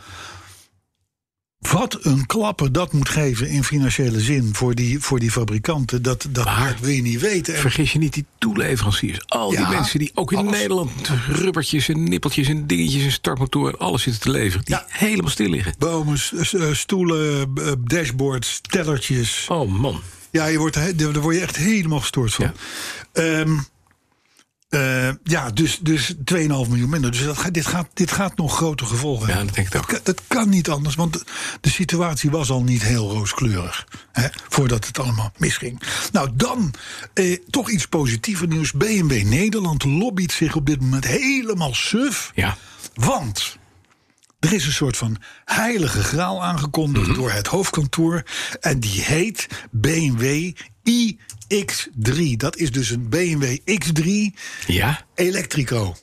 Wat een klappen dat moet geven in financiële zin voor die, voor die fabrikanten. Dat, dat,
Maar-
dat wil je niet weten. En
Vergis je niet, die toeleveranciers. Al die
Ja,
mensen die ook in
alles.
Nederland rubbertjes en nippeltjes en dingetjes en startmotoren en alles zitten te leveren. Die
Ja.
helemaal stil liggen.
bomen, s- s- eh, stoelen, eh, dashboards, tellertjes.
Oh man.
Ja, je wordt, er he- daar word je echt helemaal gestoord van.
Ja.
Ehm, eh, ja, dus, dus 2,5 miljoen minder. Dus dat, ga- dit, gaat, dit gaat nog grote gevolgen
Ja,
hebben.
dat denk ik ook.
Ka- Dat kan niet anders, want de- de situatie was al niet heel rooskleurig. Hè, voordat het allemaal misging. Nou, dan eh, toch iets positiever nieuws. BMW Nederland lobbyt zich op dit moment helemaal suf.
Ja.
Want er is een soort van heilige graal aangekondigd door het hoofdkantoor. En die heet BMW iX3. Dat is dus een BMW X3
Ja.
Electrico.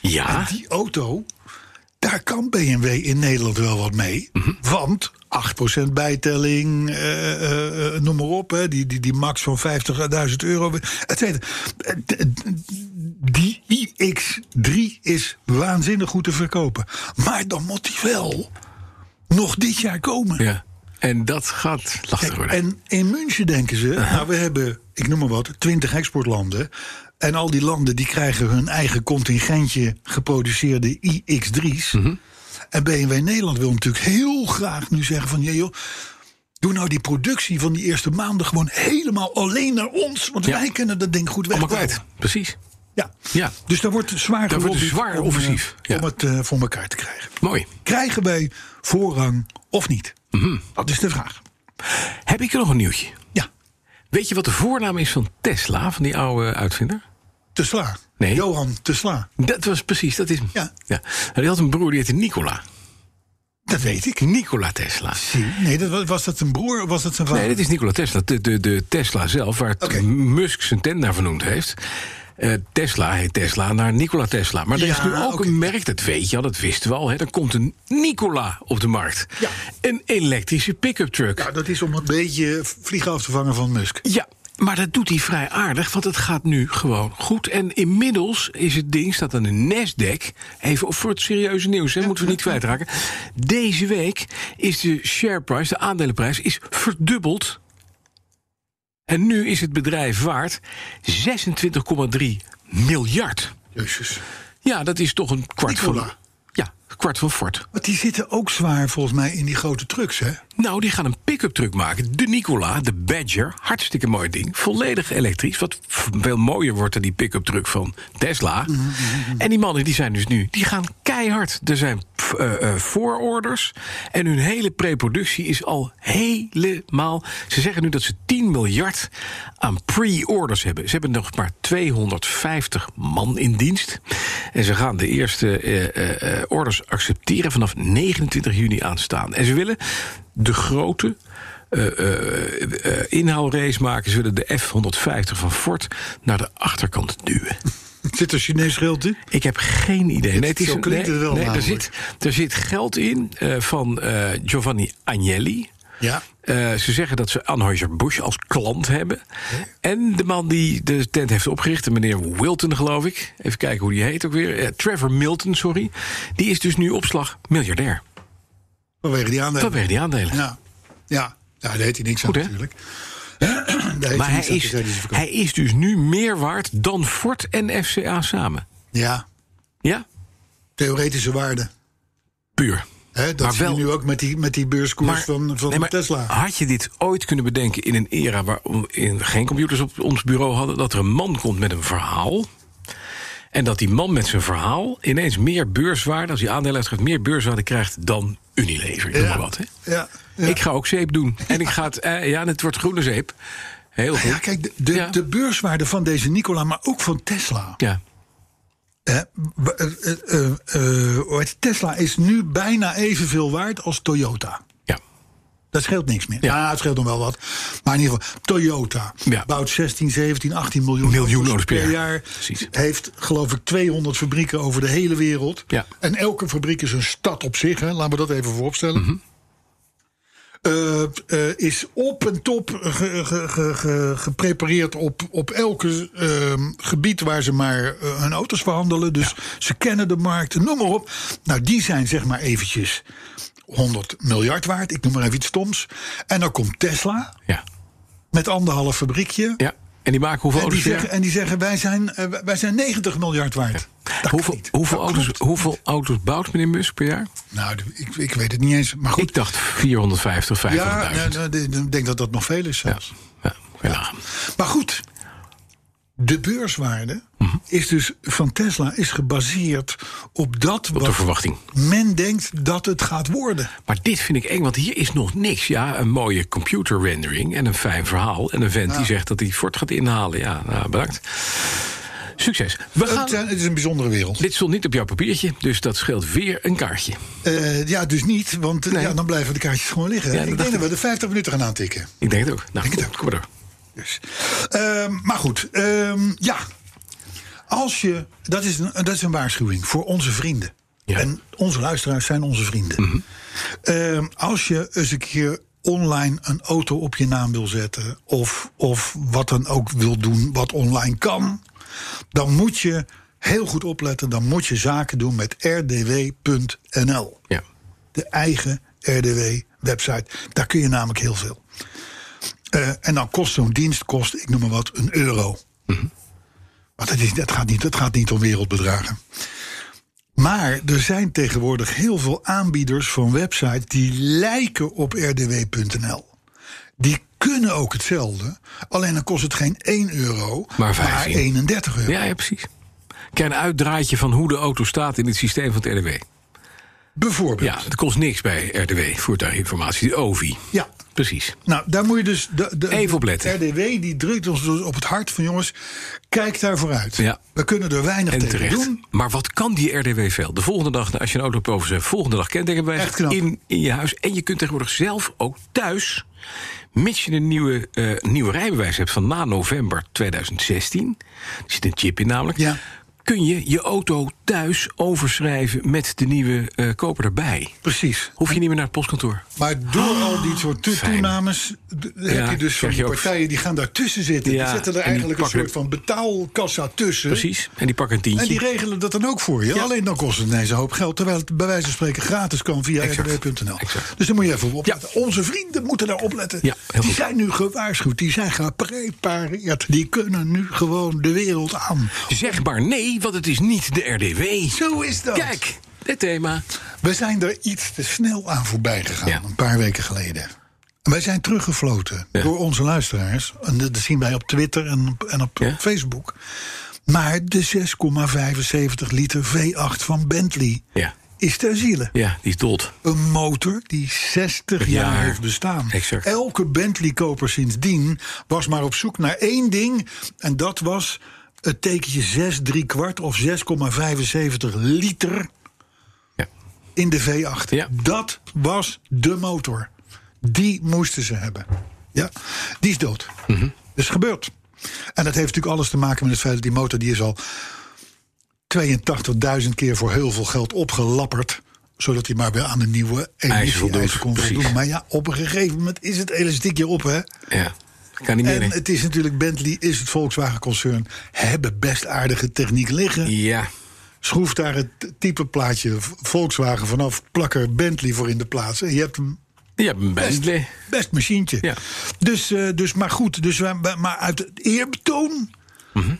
Ja.
Die auto, daar kan BMW in Nederland wel wat mee. Want 8% bijtelling, eh, eh, eh, noem maar op. Hè, die, die, die max van 50.000 euro, et cetera. Eh, d- d- Die iX3 is waanzinnig goed te verkopen. Maar dan moet die wel nog dit jaar komen.
Ja. En dat gaat lastig
Kijk,
worden.
en in München denken ze, nou, we hebben, ik noem maar wat, 20 exportlanden. En al die landen die krijgen hun eigen contingentje geproduceerde iX3's.
Mhm.
En BMW Nederland wil natuurlijk heel graag nu zeggen van... "Jee joh, doe nou die productie van die eerste maanden gewoon helemaal alleen naar ons. Want
Ja.
wij kunnen dat ding goed
Allemaal
wegbouwen.
kwijt. Precies.
Ja.
Ja.
Dus daar wordt zwaar
Daar wordt
gelobbyd
zwaar
om, eh,
offensief, ja.
om het eh, voor elkaar te krijgen.
Mooi.
Krijgen wij voorrang of niet?
Mhm.
Dat is de vraag.
Heb ik er nog een nieuwtje?
Ja,
Weet je wat de voornaam is van Tesla, van die oude uitvinder?
Tesla.
Nee.
Johan Tesla.
Dat was precies, dat is hem.
Ja.
ja. En die had een broer, die heette Nicola.
Dat weet ik.
Nicola Tesla.
Nee, dat was, was dat een broer of was dat zijn vader?
Nee, dit is Nikola Tesla. De, de, de Tesla zelf, waar
Oké.
Musk zijn tent naar vernoemd heeft. Eh, Tesla heet Tesla naar Nikola Tesla. Maar er is
Ja,
nu ook
oké.
een merk, dat weet je al, dat wisten we al. Hè. Er komt een Nikola op de markt.
Ja.
Een elektrische pick-up truck.
Ja, dat is om een beetje vliegen af te vangen van Musk.
Ja, maar dat doet hij vrij aardig, want het gaat nu gewoon goed. En inmiddels is het ding, staat aan de Nasdaq... even voor het serieuze nieuws, hè, moeten we niet kwijtraken. Deze week is de share price, de aandelenprijs, is verdubbeld. En nu is het bedrijf waard 26,3 miljard.
Jezus.
Ja, dat is toch een kwart
Nicola.
van... Ja, een kwart van Ford.
Want die zitten ook zwaar volgens mij in die grote trucks, hè?
Nou, die gaan een pick-up truck maken. De Nicola, de Badger. Hartstikke mooi ding. Volledig elektrisch. Wat veel mooier wordt dan die pick-up truck van Tesla. En die mannen die zijn dus nu, die gaan keihard. Er zijn pff, eh, eh, voororders. En hun hele preproductie is al helemaal. Ze zeggen nu dat ze 10 miljard aan pre-orders hebben. Ze hebben nog maar 250 man in dienst. En ze gaan de eerste eh, eh, eh, orders accepteren vanaf 29 juni aanstaan. En ze willen de grote eh, eh, eh, inhaalrace maken. Ze willen de F-150 van Ford naar de achterkant duwen.
Zit er Chinees geld in?
Ik heb geen idee. Nee,
Zo klinkt
nee,
het wel
nee, er,
namelijk.
zit, er zit geld in eh, van eh, Giovanni Agnelli.
Ja.
Eh, ze zeggen dat ze Anheuser-Busch als klant hebben. En de man die de tent heeft opgericht, de meneer Wilton, geloof ik. Even kijken hoe die heet ook weer. Eh, Trevor Milton, sorry. Die is dus nu opslag miljardair.
Vanwege die aandelen.
Vanwege die aandelen.
Ja. Ja. ja, daar heet hij niks
Goed,
aan
hè?
natuurlijk. Daar heet
maar hij
niks aan,
is,
tenzij die ze verkoopt.
hij is dus nu meer waard dan Ford en FCA samen.
Ja,
Ja?
theoretische waarde.
Puur.
Hè, dat
Maar
zie je
wel-
nu ook met die, met die beurskoers van, van
nee, maar Ah.
Tesla.
Had je dit ooit kunnen bedenken in een era waar on- in geen computers op ons bureau hadden, dat er een man komt met een verhaal. En dat die man met zijn verhaal ineens meer beurswaarde, als hij aandelen uitgeeft, meer beurswaarde krijgt dan Unilever. Ik noem maar wat, hè?
Ja, ja.
Ik ga ook zeep doen. En ik ga het, eh, ja, en het wordt groene zeep. Heel goed.
ja, kijk, de, de,
Ja.
de beurswaarde van deze Nicola, maar ook van Tesla.
Ja.
Hè, w- eh, eh, eh, hoe heet het? Tesla is nu bijna evenveel waard als Toyota.
ja.
Dat scheelt niks meer.
Ja.
Ja, het scheelt nog wel wat. Maar in ieder geval, Toyota
Ja.
bouwt 16, 17, 18 miljoen,
Miljoen
auto's
auto's per
per
jaar.
jaar.
Precies.
Heeft, geloof ik, 200 fabrieken over de hele wereld.
Ja.
En elke fabriek is een stad op zich. Hè. Laten we dat even vooropstellen. Eh, eh, is op en top ge- ge- ge- ge- geprepareerd op, op elke ehm, gebied waar ze maar eh, hun auto's verhandelen. Dus ze kennen de markt, noem maar op. Nou, die zijn zeg maar eventjes 100 miljard waard. Ik noem maar even iets stoms. En dan komt Tesla
ja.
met anderhalf fabriekje.
ja. En die maken hoeveel
En die,
auto's? per jaar?
zeggen, en die zeggen, wij zijn, eh, wij zijn 90 miljard waard. eh, Dat
Hoeveel,
kan niet.
hoeveel,
Dat
auto's,
klopt.
hoeveel auto's bouwt meneer Musk per jaar?
Nou, ik, ik weet het niet eens. Maar goed,
Ik dacht 450, 500.000.
ja, nou, nou, ik denk dat dat nog veel is
Ja,
zelfs.
ja, heel laag.
Maar goed, de beurswaarde
Mhm.
is dus van Tesla is gebaseerd op dat
Op de
wat
verwachting.
men denkt dat het gaat worden.
Maar dit vind ik eng, want hier is nog niks. Ja, een mooie computer rendering en een fijn verhaal. En een vent die zegt dat hij Ford gaat inhalen. Ja, nou, bedankt. Succes. We
Het,
gaan...
zijn- het is een bijzondere wereld.
Dit stond niet op jouw papiertje, dus dat scheelt weer een kaartje.
Eh, ja, dus niet, want eh, ja, dan blijven de kaartjes gewoon liggen.
Ja, dat
ik
dacht
denk dat
ik.
we de 50 minuten gaan aantikken.
Ik denk het ook. Nou,
Denk het ook.
kom maar door.
Dus. Ehm, maar goed, ehm, ja. Als je, dat, is een, dat is een waarschuwing voor onze vrienden.
Ja.
En onze luisteraars zijn onze vrienden. Ehm, als je eens een keer online een auto op je naam wil zetten... of, of wat dan ook wil doen wat online kan... dan moet je heel goed opletten. Dan moet je zaken doen met rdw.nl
Ja.
de eigen RDW-website. Daar kun je namelijk heel veel. Eh, en dan kost zo'n dienst, kost, ik noem maar wat, een euro.
Mhm.
Want het, is, het, gaat niet, het gaat niet om wereldbedragen. Maar er zijn tegenwoordig heel veel aanbieders van websites die lijken op rdw.nl. Die kunnen ook hetzelfde, alleen dan kost het geen 1 euro,
Maar 15.
31 euro.
Ja, ja, precies. Kijk, een uitdraadje van hoe de auto staat in het systeem van het RDW.
Bijvoorbeeld.
Ja, het kost niks bij RDW, voertuiginformatie, de OVI.
ja,
Precies.
Nou, daar moet je dus. De, de,
Even op letten.
de RDW die drukt ons dus op het hart van jongens. Kijk daar vooruit.
Ja.
We kunnen er weinig
En
tegen
terecht.
doen.
Maar wat kan die RDW veel? De volgende dag, als je een auto hebt over volgende dag
Echt
kentekenbewijs
knap.
in, in je huis. En je kunt tegenwoordig zelf ook thuis, mits je een nieuwe, eh, nieuwe rijbewijs hebt van na november 2016, er zit een chip in namelijk,
Ja.
kun je je auto thuis overschrijven met de nieuwe eh, koper erbij.
Precies.
Hoef je niet meer naar het postkantoer.
Maar door al die soort toe-
Ah, fijn.
toenames d- heb je dus van
krijg
die
je ook-
partijen die gaan daartussen zitten.
Ja,
die zetten
en
er
die
eigenlijk een
pakken
soort van betaalkassa tussen.
Precies. En die pakken een tientje.
En die regelen dat dan ook voor je. Alleen dan kost het ineens een hoop geld. Terwijl het bij wijze van spreken gratis kan via
Exact.
rdw.nl.
Exact.
Dus daar moet je even op opletten. Onze vrienden moeten daar opletten.
Ja, heel
die
goed.
zijn nu gewaarschuwd. Die zijn geprepareerd. Die kunnen nu gewoon de wereld aan.
Zeg maar nee, want het is niet de RDW.
Zo is dat.
Kijk, dit thema.
We zijn er iets te snel aan voorbij gegaan,
Ja.
een paar weken geleden. Wij zijn teruggefloten
Ja.
door onze luisteraars. En dat dat zien wij op Twitter en op, en op
Ja.
Facebook. Maar de 6,75 liter V8 van Bentley
Ja.
is ter ziele.
Ja, die is dood.
Een motor die 60 jaar,
Jaar.
heeft bestaan.
Exact.
Elke Bentley-koper sindsdien was maar op zoek naar één ding. En dat was het tekentje 6 3 kwart of 6,75 liter
Ja.
in de V8.
Ja.
Dat was de motor. Die moesten ze hebben. Ja, die is dood.
Mhm.
Dus gebeurd. En dat heeft natuurlijk alles te maken met het feit dat die motor die is al 82.000 keer voor heel veel geld opgelapperd. Zodat hij maar weer aan de nieuwe energie
voldoet,
kon
precies.
voldoen. Maar ja, op een gegeven moment is het elastiekje op, hè?
Ja. Kan niet meer.
En
hè?
het is natuurlijk Bentley, is het Volkswagen-concern. Hebben best aardige techniek liggen
Ja.
schroef daar het type plaatje Volkswagen vanaf, plak er Bentley voor in de plaats. En je hebt een
Ja, Bentley.
best machientje.
Ja.
Dus, eh, dus, maar goed, dus wij, wij- maar uit het eerbetoon,
Mhm.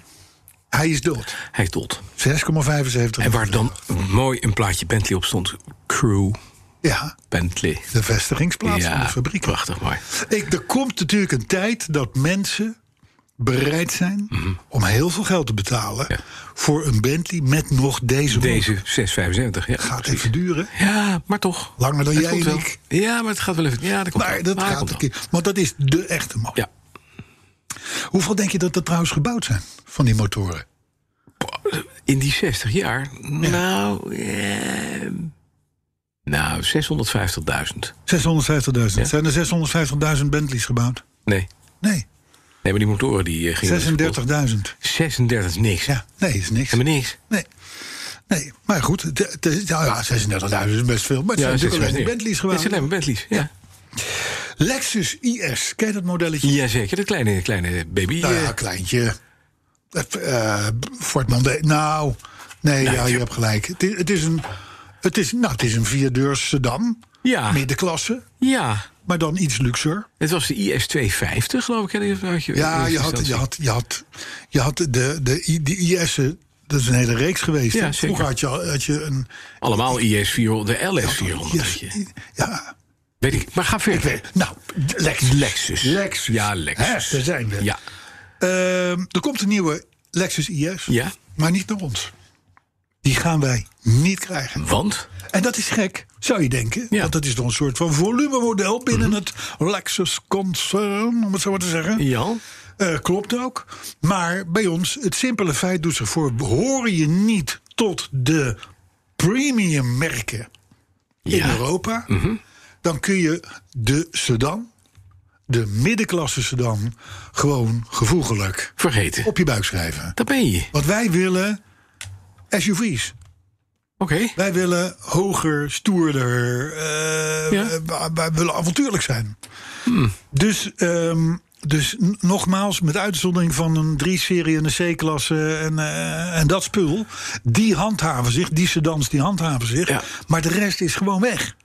hij is dood.
Hij is dood.
6,75.
En waar dan mooi een plaatje Bentley op stond. Crew
Ja,
Bentley.
de vestigingsplaats van de
Ja,
fabriek.
prachtig mooi.
Ik, er komt natuurlijk een tijd dat mensen bereid zijn om heel veel geld te betalen
Mhm. Ja.
voor een Bentley met nog deze.
Deze 675. Ja,
Gaat
precies.
even duren.
Ja, maar toch.
Langer dan
Het
jij
komt
en
wel.
ik.
Ja, maar het gaat wel even. Ja, dat komt
Maar
wel.
dat
het
gaat
komt
een keer. Want dat is de echte motor.
wel. Ja.
Hoeveel denk je dat er trouwens gebouwd zijn van die motoren?
In die 60 jaar. Nou, eh, nou 650.000.
650.000. Zijn er 650.000 Bentleys gebouwd?
Nee.
Nee,
Nee, maar die motoren die eh, gingen...
36.000.
36 is niks.
Ja, nee, is niks.
Helemaal niks.
Nee. Nee, maar goed, het- het is- nou ja, 36.000 is best veel. Maar het zijn natuurlijk alleen die Bentleys
Het zijn
gebouwd.
alleen maar Bentleys, ja.
Lexus IS, ken je dat modelletje?
Jazeker, dat kleine, kleine baby.
Nou ja,
eh,
kleintje. Eh, eh, Ford Mondeo. Nou, nee, ja, je hebt gelijk. Het is, het is een... Het is, nou, het is een vierdeurs sedan,
ja,
middenklasse,
ja,
maar dan iets luxer.
het was de IS-250, geloof ik. hè, die had je-
Ja,
in
je had,
instantie.
je had, je had, je had de, de, I- die IS'en, dat is een hele reeks geweest.
Ja,
hè? Vroeger
zeker.
had je, al- had je een...
Allemaal IS-400, de LS-400.
IS,
weet je.
ja,
Weet ik, maar ga verder.
ik weet Nou, Lexus.
Lexus. Ja, Lexus.
Hè, daar zijn we.
Ja,
Ehm, er komt een nieuwe Lexus IS,
Ja.
maar niet naar ons. Die gaan wij niet krijgen.
want?
En dat is gek, zou je denken.
Ja. Mhm.
Want dat is dan een soort van volumemodel binnen het Lexus-concern, om het zo maar te zeggen.
Jan?
Eh, klopt ook. Maar bij ons, het simpele feit doet zich voor. Hoor je niet tot de premium merken in
Ja.
Europa, dan kun je de sedan, de middenklasse sedan, gewoon gevoegelijk
Vergeten.
op je buik schrijven.
Daar ben je.
Want wij willen SUV's.
Oké.
Wij willen hoger, stoerder. eh,
Ja. Hmm.
eh, wij- wij willen avontuurlijk zijn. Dus, ehm, dus n- nogmaals, met uitzondering van een 3-serie en een C-klasse en, eh, en dat spul. Die handhaven zich, die sedans die handhaven zich.
Ja.
Maar de rest is gewoon weg.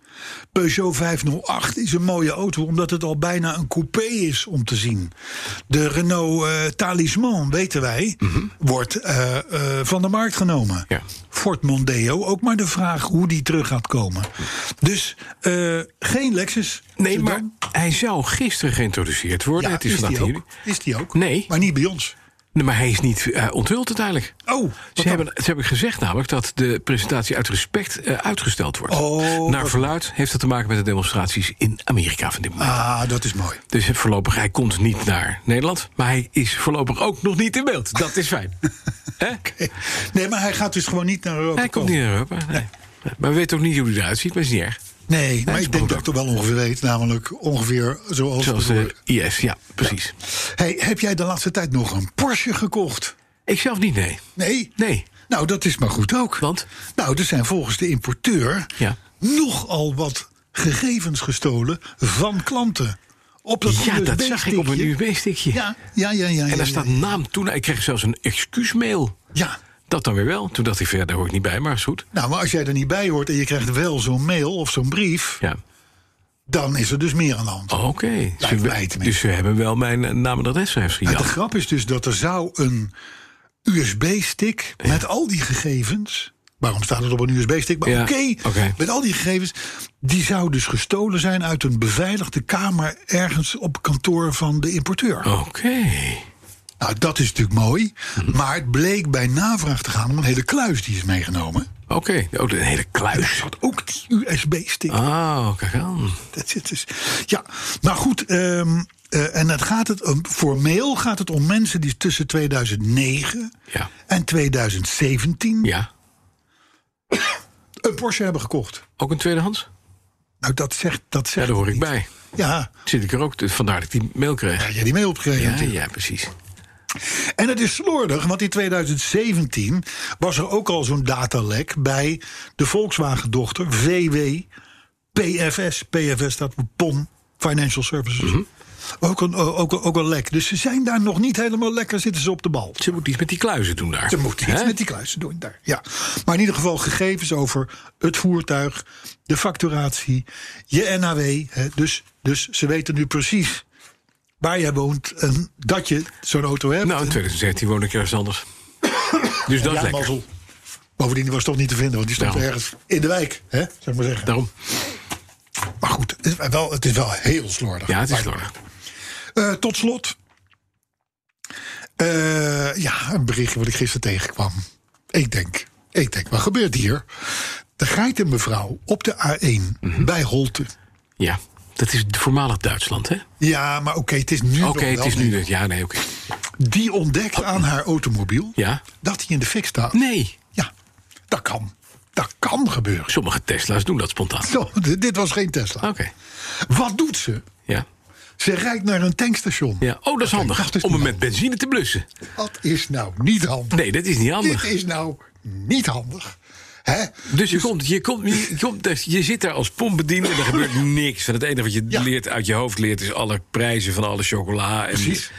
Peugeot 508 is een mooie auto, omdat het al bijna een coupé is om te zien. De Renault eh, Talisman, weten wij, wordt eh, eh, van de markt genomen.
Mhm. Ja.
Ford Mondeo, ook maar de vraag hoe die terug gaat komen. Dus eh, geen Lexus.
Nee,
Sedan.
maar hij zou gisteren geïntroduceerd worden.
Ja,
het is,
is,
vandaag
die ook,
hier.
is die ook?
Nee.
Maar niet bij ons.
Nee, Maar hij is niet eh, onthuld uiteindelijk.
Oh, wat
Ze
dan?
hebben, ze hebben gezegd namelijk dat de presentatie uit respect eh, uitgesteld wordt.
Oh,
Naar verluid heeft dat te maken met de demonstraties in Amerika van dit moment.
Ah, dat is mooi.
Dus voorlopig, hij komt niet naar Nederland. Maar hij is voorlopig ook nog niet in beeld. Dat is fijn. Hè?
Hey. Nee, maar hij gaat dus gewoon niet naar Europa.
Hij komt
komen.
niet eh, naar Europa. Nee. Maar we weten ook niet hoe hij eruit ziet, maar is niet erg.
Nee, maar
is
ik denk
goed.
dat ik het wel ongeveer weet. Namelijk ongeveer zoals...
Zoals
bedoel.
de IS, ja, precies.
Hey, heb jij de laatste tijd nog een Porsche gekocht?
Ik zelf niet, nee.
Nee?
Nee.
Nou, dat is maar goed ook.
Want?
Nou, er zijn volgens de importeur
Ja.
nogal wat gegevens gestolen van klanten. Op dat
Ja, dat
USB
zag ik op een
stickje.
USB-stickje.
Ja, ja, ja, ja.
En
ja,
daar staat
ja,
naam toen. Ik kreeg zelfs een excuusmail.
Ja.
Dat dan weer wel. Toen dacht ik, verder daar hoor ik niet bij, maar is goed.
Nou, maar als jij er niet bij hoort en je krijgt wel zo'n mail of zo'n brief...
Ja.
dan is er dus meer aan de hand.
Oké. Ze-
mij tenminste.
Dus ze hebben wel mijn eh, naam en adres geschreven.
Maar
Ja.
de grap is dus dat er zou een USB-stick met al die gegevens Waarom staat het op een USB-stick? Maar
Ja,
oké,
oké.
met al die gegevens. Die zou dus gestolen zijn uit een beveiligde kamer ergens op kantoor van de importeur.
Oké.
Nou, dat is natuurlijk mooi.
Mhm.
Maar het bleek bij navraag te gaan om een hele kluis die is meegenomen.
Oké. Oh, een hele kluis.
Had ook die USB-stick.
Oh, kijk aan.
Dat zit dus. Ja, maar goed. ehm, eh, en het gaat het, om- formeel gaat het om mensen die tussen 2009
Ja.
en 2017
Ja.
een Porsche hebben gekocht.
Ook een tweedehands?
Nou, dat zegt. Dat
Ja,
zegt
daar hoor ik
niet.
bij.
Ja,
Zit ik er ook. Dus Vandaar dat ik die mail kreeg.
had jij die mee opgegeven?
Ja,
natuurlijk.
ja, precies.
En het is slordig, want in 2017 was er ook al zo'n datalek bij de Volkswagen-dochter VW PFS. PFS staat voor POM Financial Services.
Mhm.
ook, een, ook, een- ook een lek. Dus ze zijn daar nog niet helemaal lekker, zitten ze op de bal.
Ze moet iets met die kluizen doen daar.
Ze moeten iets
Hè?
met die kluizen doen daar. Ja. Maar in ieder geval gegevens over het voertuig, de facturatie, je NAW. Hè. Dus, dus ze weten nu precies waar jij woont en dat je zo'n auto hebt.
Nou, in 2017 woon ik ergens anders. dus dat is
ja,
lekker.
mazzel. Bovendien die was toch niet te vinden, want die stond
Daarom.
ergens in de wijk, hè, zou ik maar zeggen.
Daarom.
Maar goed, het is wel, het is wel heel slordig.
Ja, het is
Maar-
slordig.
Eh, tot slot. Eh, ja, een berichtje wat ik gisteren tegenkwam. Ik denk, ik denk, wat gebeurt hier? De geitenmevrouw op de A1
Mhm.
bij Holte.
Ja, dat is voormalig Duitsland, hè? Oké,
Ja, maar oké, het is nu nog
het
wel
is nu...
niet.
dat- Ja, nee, oké.
Die ontdekt aan haar automobiel
Ja?
dat hij in de fik staat.
Nee,
Ja, dat kan. Dat kan gebeuren.
sommige Tesla's doen dat spontaan.
Zo, d- dit was geen Tesla.
Oké, Ah.
Wat doet ze?
ja.
Ze rijdt naar een tankstation.
ja. Oh, dat is handig,
dat is
om hem
niet
met benzine te blussen.
Dat is nou niet handig.
Nee, dat is niet handig.
Dit is nou niet handig. Hè?
Dus je, komt, je, komt, je, komt, dus je zit daar als pompbediende en er gebeurt niks. En het enige wat je
Ja.
leert uit je hoofd leert is alle prijzen van alle chocola. En
Precies.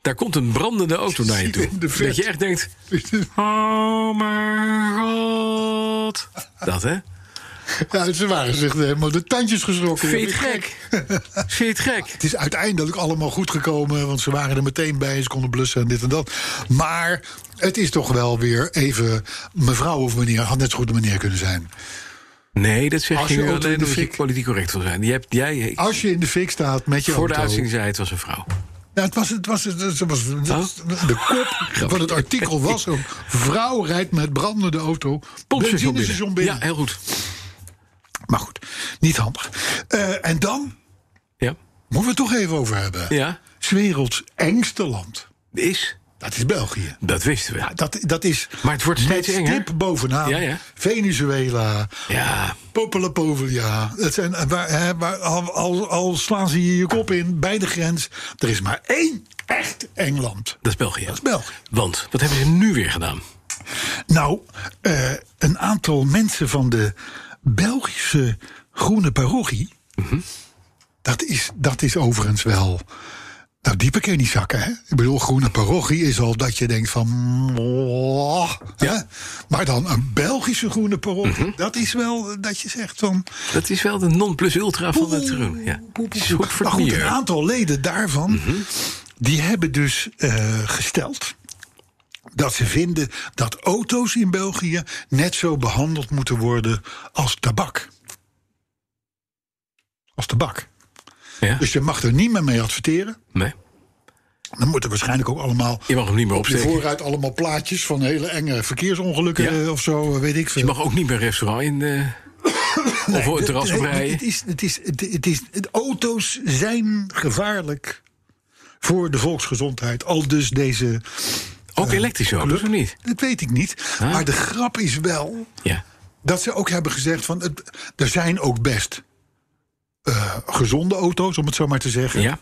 Daar komt een brandende auto naar je
Ziet
toe.
in de
Dat
verte.
je echt denkt, oh mijn god. Dat hè?
Ja, ze waren zich helemaal de tandjes geschrokken.
Vind je het gek? Vind je het gek?
Het is uiteindelijk allemaal goed gekomen, want ze waren er meteen bij. Ze konden blussen en dit en dat. Maar het is toch wel weer even... Mevrouw of meneer, had net zo goed een meneer kunnen zijn.
Nee, dat zeg
Als
je
je
nu
auto in
alleen
de
omdat je
fik-
politiek correct wil zijn. Je hebt, jij,
Als je in de fik staat met je
voor de
auto...
uitzending zei het was een vrouw.
Nou, het was, het was, het was, het was- het was- de kop van het artikel was ook... Vrouw rijdt met brandende auto
Pompstation
benzinestation
binnen.
binnen.
Ja, heel goed.
Maar goed, niet handig. Eh, en dan
Ja.
moeten we het toch even over hebben.
ja,
Het werelds engste land.
is,
Dat is België.
dat wisten we.
Dat, dat is
Maar het wordt steeds
met
enger.
stip bovenaan.
Ja, ja.
Venezuela,
Ja,
Popolapovlia. Het zijn, eh, waar, hè, waar, al, al, al slaan ze je je kop in bij de grens. Er is maar één echt Engeland.
dat is België.
Dat is België.
Want wat hebben ze nu weer gedaan?
Nou, eh, een aantal mensen van de Belgische Groene Parochie. dat, is, dat is overigens wel. Nou, diepe ken je niet zakken, hè? Ik bedoel, Groene Parochie is al dat je denkt van. "Mwah", hè? Maar dan een Belgische Groene Parochie. Dat is wel dat je zegt van.
Dat is wel de non-plus-ultra van het groen. Ja. Zoek voor
Maar
het
Nou
Mhm.
goed,
milieu.
een aantal leden daarvan. die hebben dus eh, gesteld. dat ze vinden dat auto's in België. net zo behandeld moeten worden als tabak. Als tabak.
Ja?
Dus je mag er niet meer mee adverteren.
Nee,
Dan moeten waarschijnlijk ook allemaal.
je mag hem niet meer
op je
opsteken.
vooruit allemaal plaatjes van hele enge verkeersongelukken
Ja.
eh, of zo, eh, weet ik veel.
Je mag ook niet meer restaurant in. eh, of voor het terras op
Nee, het-
rijden.
Het is, het is, het, het is, het- auto's zijn gevaarlijk voor de volksgezondheid. Al dus deze,
Ook elektrische auto's, of niet?
dat weet ik niet. Maar de grap is wel
Ja.
dat ze ook hebben gezegd van... Het, er zijn ook best eh, gezonde auto's, om het zo maar te zeggen.
ja.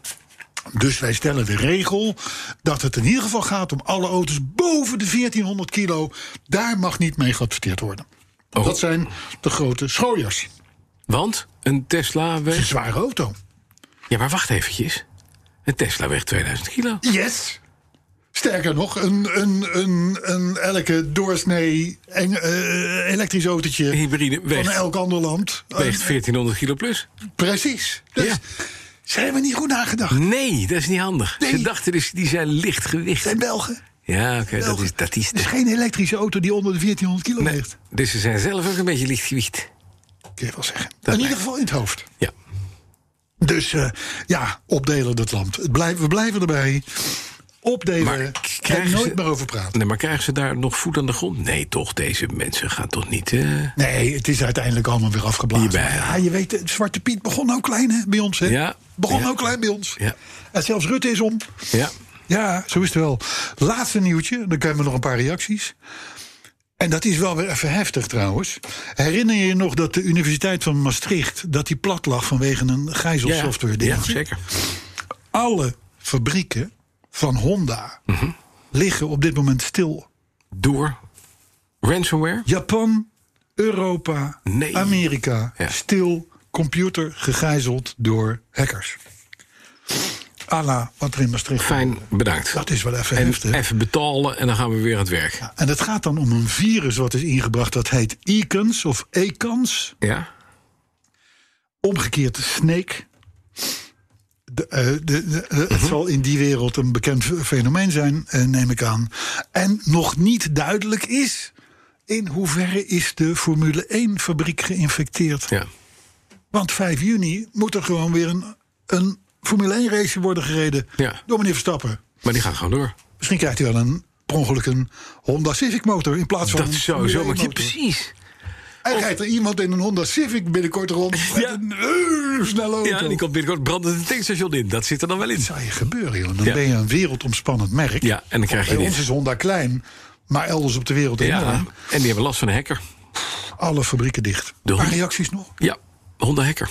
Dus wij stellen de regel dat het in ieder geval gaat om alle auto's boven de 1400 kilo. Daar mag niet mee geadverteerd worden.
Oh.
Dat zijn de grote schooiers.
Want een Tesla
Een
weegt.
zware auto.
Ja, maar wacht eventjes. Een Tesla weegt 2000 kilo.
Yes! Sterker nog, een, een, een, een elke doorsnee eng, eh, elektrisch
Een
autootje
hybride
van
weegt,
elk ander land. Eh,
weegt 1400 kilo plus.
precies. Dus
Ja.
ze hebben niet goed nagedacht.
Nee, dat is niet handig. Ze
Nee.
dachten dus, die zijn lichtgewicht.
Zijn Belgen.
Ja, oké, dat is, dat is
Het is geen elektrische auto die onder de 1400 kilo
Nee,
ligt.
dus ze zijn zelf ook een beetje lichtgewicht.
Kun je wel zeggen.
Dat
in
lijkt
ieder geval in het hoofd.
Ja.
Dus eh, ja, opdelen dat land. Het blijf- we blijven erbij. Opdelen.
Maar
en
krijgen
nooit
ze-
meer over praten.
Nee, maar krijgen ze daar nog voet aan de grond? Nee, toch, deze mensen gaan toch niet... eh,
Nee, het is uiteindelijk allemaal weer afgeblazen.
Hierbij,
ja,
ja.
je weet, het Zwarte Piet begon ook klein hè, bij ons. Hè?
Ja.
Begon
Ja.
ook klein bij ons.
Ja.
En zelfs Rutte is om.
Ja,
Ja, zo is het wel. Laatste nieuwtje, dan kunnen we nog een paar reacties. En dat is wel weer even heftig trouwens. Herinner je je nog dat de Universiteit van Maastricht... dat die plat lag vanwege een
ja,
gijzelsoftware
ja,
dingetje?
zeker.
Alle fabrieken van Honda
Mhm.
liggen op dit moment stil.
Door ransomware.
Japan, Europa,
Nee.
Amerika.
Ja.
Stil computer gegijzeld door hackers. Ala, wat er in Maastricht
Fijn, bedankt.
Dat eh, is wel even
En
heftig.
even betalen en dan gaan we weer aan het werk.
En het gaat dan om een virus wat is ingebracht. Dat heet Ecans of Ecans.
Ja?
Omgekeerd Snake. De, eh, de, de, eh,
Mhm.
Het zal in die wereld een bekend f- fenomeen zijn, eh, neem ik aan. En nog niet duidelijk is... in hoeverre is de Formule 1-fabriek geïnfecteerd.
Ja.
Want 5 juni moet er gewoon weer een, een Formule 1 race worden gereden
Ja.
door meneer Verstappen.
Maar die gaan gewoon door.
Misschien krijgt hij wel een per ongeluk een Honda Civic motor in plaats van
Dat
een
is sowieso.
Formule
Maar
1
ja,
motor.
precies.
En rijdt er iemand in een Honda Civic binnenkort rond met
Ja.
een eh, snelle auto.
Ja, die komt binnenkort brandend het tankstation in. Dat zit er dan wel in.
Dat zou je gebeuren, joh. Dan
Ja.
ben je een wereldomspannend merk.
Ja, en dan krijg je
Bij ons
dit.
is Honda klein, maar elders op de wereld enorm.
Ja, en die hebben last van een hacker.
Alle fabrieken dicht.
De
Een paar
Honda-
reacties nog.
Ja, Honda Hacker.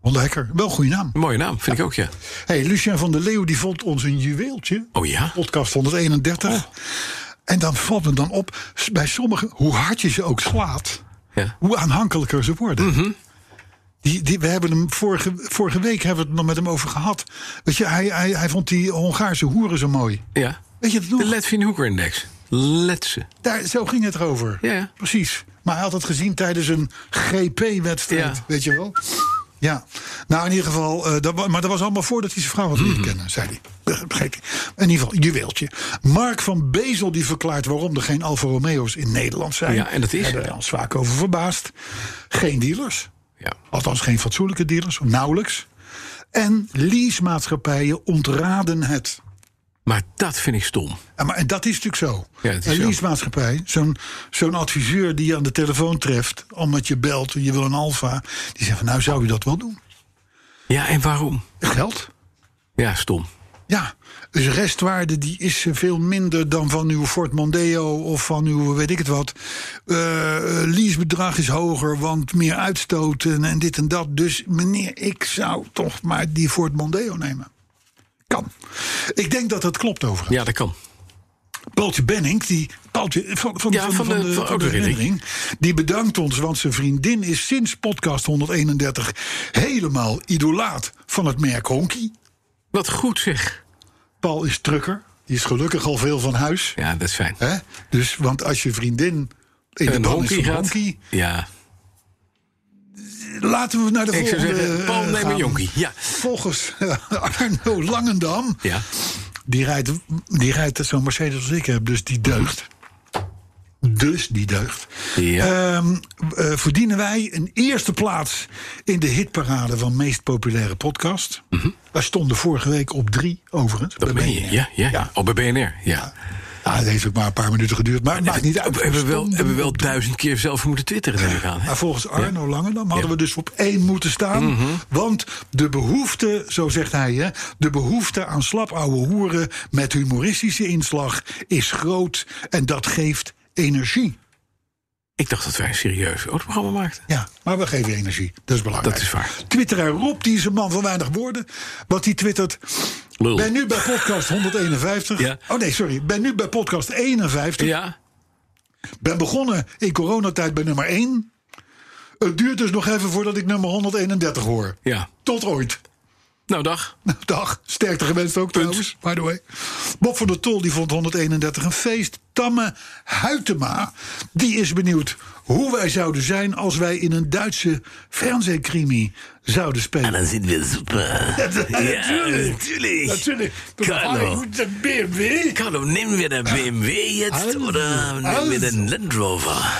Honda Hacker, wel een goede naam.
Mooie naam, vind ik ook, ja.
Hey, Lucien van der Leeuw die vond ons een juweeltje.
Oh ja? Oh.
Podcast 131. En dan valt me dan op, s- bij sommigen, hoe hard je ze ook slaat,
Ja.
hoe aanhankelijker ze worden.
Mhm.
Die, die, we hebben hem vorige, vorige week hebben we het nog met hem over gehad. Weet je, hij, hij, hij vond die Hongaarse hoeren zo mooi.
ja.
Weet je dat nog?
De Latvian Hooker Index. Letse.
Daar, zo ging het erover.
Ja.
Precies. Maar hij had het gezien tijdens een GP-wedstrijd.
Ja.
Weet je wel? Ja. Nou, in ieder geval. eh, dat, wa- maar dat was allemaal voordat hij zijn vrouw had
Mhm.
leren kennen, zei hij. Eh, Begreep ik. In ieder geval, juweeltje. Mark van Bezel die verklaart waarom er geen Alfa Romeo's in Nederland zijn.
Ja, en dat is?
Daar hebben wij ons vaak over verbaasd. Geen dealers.
Ja.
Althans, geen fatsoenlijke dealers, nauwelijks. En leasemaatschappijen ontraden het.
Maar dat vind ik stom.
Ja, maar en dat is natuurlijk zo.
Ja, het is
een
zo.
leasemaatschappij, zo'n zo'n adviseur die je aan de telefoon treft... omdat je belt, je wil een alfa... die zegt van, nou zou je dat wel doen?
Ja, en waarom?
Geld?
Ja, stom.
Ja. Dus restwaarde die is eh, veel minder dan van uw Ford Mondeo... of van uw weet ik het wat. Eh, eh, leasebedrag is hoger, want meer uitstoot en, en dit en dat. Dus meneer, ik zou toch maar die Ford Mondeo nemen. Kan. Ik denk dat dat klopt overigens.
Ja, dat kan.
Paultje Benning, die Paultje, van, van,
Ja,
van,
van
van
de-
de,
van oh,
van de
Autoherinnering.
herinnering, die bedankt ons, want zijn vriendin is sinds podcast 131 helemaal idolaat van het merk Honky.
Wat goed zeg.
Paul is trucker, die is gelukkig al veel van huis.
Ja, dat is fijn.
Hè? Dus, want als je vriendin in de
Een
band
honkie
is van
gaat.
Honky,
Ja.
laten we naar de
Ik zou
volgende...
zeggen, Paul,
eh,
neem een
gaan.
jonkie. Ja.
Volgens Arno Langendam,
Ja.
die rijdt, die rijdt zo'n Mercedes als ik heb, dus die deugt. Dus die deugt.
Ja.
Ehm, eh, verdienen wij een eerste plaats in de hitparade van meest populaire podcast. Wij stonden vorige week op drie, overigens.
Mhm. Dat
Bij
meen je.
BNR.
Ja, ja, ja. Oh, bij BNR. Ja.
Ah, dat heeft ook maar een paar minuten geduurd, maar het maakt niet uit.
We hebben
We
wel,
stonden
hebben wel
op drie.
duizend keer zelf moeten twitteren, neem ik aan. hè?
Maar volgens Arno Langendam hadden
Ja. Mhm.
we dus op één moeten staan. Want de behoefte, zo zegt hij, hè, de behoefte aan slapouwe hoeren met humoristische inslag is groot. En dat geeft energie.
Ik dacht dat wij een serieus autoprogramma maakten.
Ja, maar we geven je energie. Dat is belangrijk.
Dat is waar.
Twitteraar Rob, die is een man van weinig woorden. Wat die twittert.
Lul.
Ben nu bij podcast 151.
Ja.
Oh nee, sorry. Ben nu bij podcast 51.
Ja.
Ben begonnen in coronatijd bij nummer 1. Het duurt dus nog even voordat ik nummer 131 hoor.
Ja.
Tot ooit.
Nou, dag.
Dag, sterkte gewenst ook trouwens, by the way. Bob van der Tol die vond 131 een feest. Tamme Huytema, die is benieuwd hoe wij zouden zijn... als wij in een Duitse fernsehkrimi zouden spelen.
Dan sind wir super.
natuurlijk.
natürlich.
Natuurlijk.
Carlo.
De BMW.
Carlo, nehmen wir den BMW jetzt eh,
Also,
oder nehmen wir
also.
den Land Rover?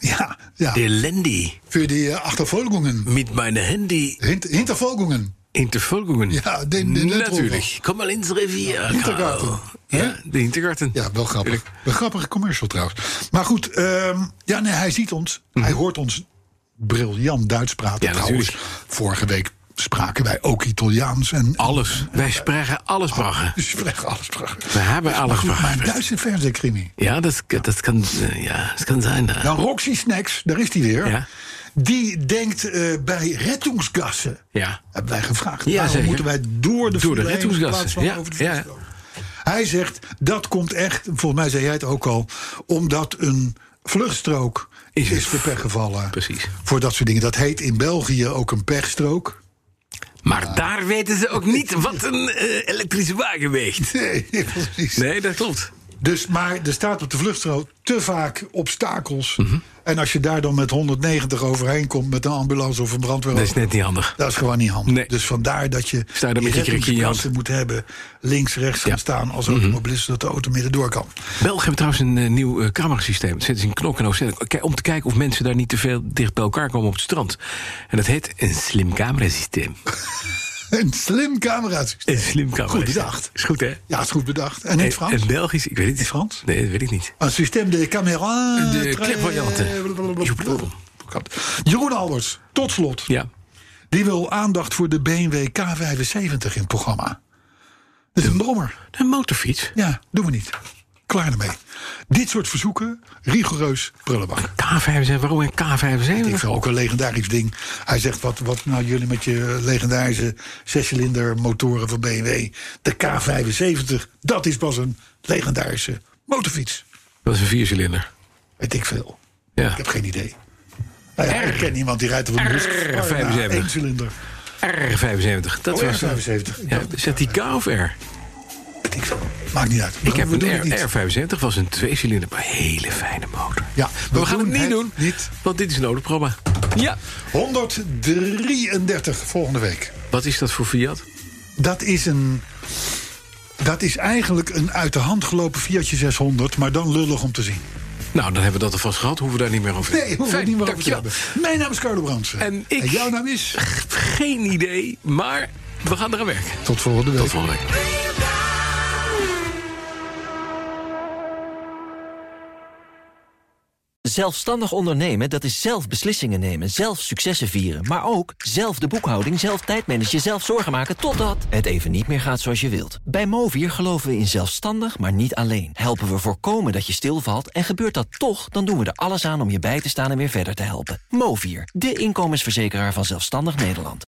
Ja, ja.
Der Landy
Für die eh, Achtervolgungen.
mit meinem Handy
Hint, Hintervolgungen.
Intervolgungen.
Ja, den, den Landrover.
Natuurlijk.
Komm mal ins Revier,
Hintergarten.
Carlo.
Ja, de Intergarten.
Ja, wel grappig.
Tuurlijk.
Een grappige commercial trouwens. Maar goed, ehm, ja, nee, hij ziet ons. Hij hoort ons briljant Duits praten
Mhm. Ja,
trouwens. Vorige week spraken wij ook Italiaans. En,
Alles. Wij spraken alles brachen.
Dus we leggen alles terug.
We hebben alles
Goed, maar een
brachen.
Duitse fernsehkrimi.
Ja, das, das, kann,
eh,
ja, das kann sein. Da.
Dan Nou, Roxy Snacks, daar is hij weer.
Ja.
Die denkt eh, bij reddingsgassen.
Ja.
Hebben wij gevraagd.
Ja,
waarom
zeker.
moeten wij door de,
Door de
file heen in
reddingsgassen,
plaats van
ja,
over de
ja.
vluchtstrook? Hij zegt, dat komt echt, volgens mij zei jij het ook al... omdat een vluchtstrook is,
Is een
te pech gevallen.
Precies.
Voor dat soort dingen. Dat heet in België ook een pechstrook.
Maar daar weten ze ook niet wat een eh, elektrische wagen weegt.
Nee, precies.
Nee, dat klopt.
Dus, maar er staat op de vluchtstrook te vaak obstakels.
Mhm.
En als je daar dan met 190 overheen komt... met een ambulance of een brandweer...
Dat is net niet handig.
Dat is gewoon niet handig.
Nee.
Dus vandaar dat je
Sta je dan met je krikje in je hand. Mhm.
reddingsgassen moet hebben. Links, rechts gaan staan als automobilist... zodat de auto middendoor kan.
België hebben trouwens een eh, nieuw eh, camerasysteem. Dat zetten ze in knok en oog. Zetten- kijk, Om te kijken of mensen daar niet te veel dicht bij elkaar komen op het strand. En dat heet een slim camerasysteem.
Een slim camerasysteem.
Een slim camerasysteem.
bedacht.
Is goed, hè?
Ja, is goed bedacht. En in het Frans?
Een Belgisch, ik weet het niet.
Frans?
Nee, dat weet ik niet.
Een systeem de camera...
De
tre-
clairvoyante.
blablabla. Jeroen Alberts, tot slot.
Ja.
Die wil aandacht voor de BMW K75 in het programma. Dat is een brommer.
Een motorfiets.
Ja, doen we niet. Klaar ermee. Dit soort verzoeken, rigoureus prullenbak.
K75, waarom een K75?
Ik vind ook een legendarisch ding. Hij zegt, wat, wat nou jullie met je legendarische zescilinder motoren van BMW... de K75, dat is pas een legendarische motorfiets.
Dat is een viercilinder.
Weet ik veel.
Ja.
Ik heb geen idee. Nou ja, ik ken iemand die rijdt op een Husqvarna
75.
één cilinder.
R75. Dat
Oh,
was eh,
R75. Ik
Ja,
dacht,
zet die K of R?
Weet ik veel. Maakt niet uit.
Ik heb
We doen het
een
niet.
R, R75, was een tweecilinder, maar hele fijne motor.
Ja,
maar Oh, we gaan het niet doen,
Niet.
want dit is een autoprogramma. Ja.
133 volgende week.
Wat is dat voor Fiat?
Dat is een... Dat is eigenlijk een uit de hand gelopen Fiatje 600, maar dan lullig om te zien.
Nou, dan hebben we dat alvast gehad, hoeven we daar niet meer over te
Nee, hoef ik niet meer over te
dankjewel.
hebben. Mijn naam is Carlo Brandsen.
En ik-
en jouw naam is...
Geen idee, maar we gaan eraan werken.
Tot volgende week.
Tot volgende week.
Zelfstandig ondernemen, dat is zelf beslissingen nemen, zelf successen vieren. Maar ook zelf de boekhouding, zelf tijdmanagen, zelf zorgen maken totdat het even niet meer gaat zoals je wilt. Bij Movier geloven we in zelfstandig, maar niet alleen. Helpen we voorkomen dat je stilvalt en gebeurt dat toch, dan doen we er alles aan om je bij te staan en weer verder te helpen. Movier, de inkomensverzekeraar van Zelfstandig Nederland.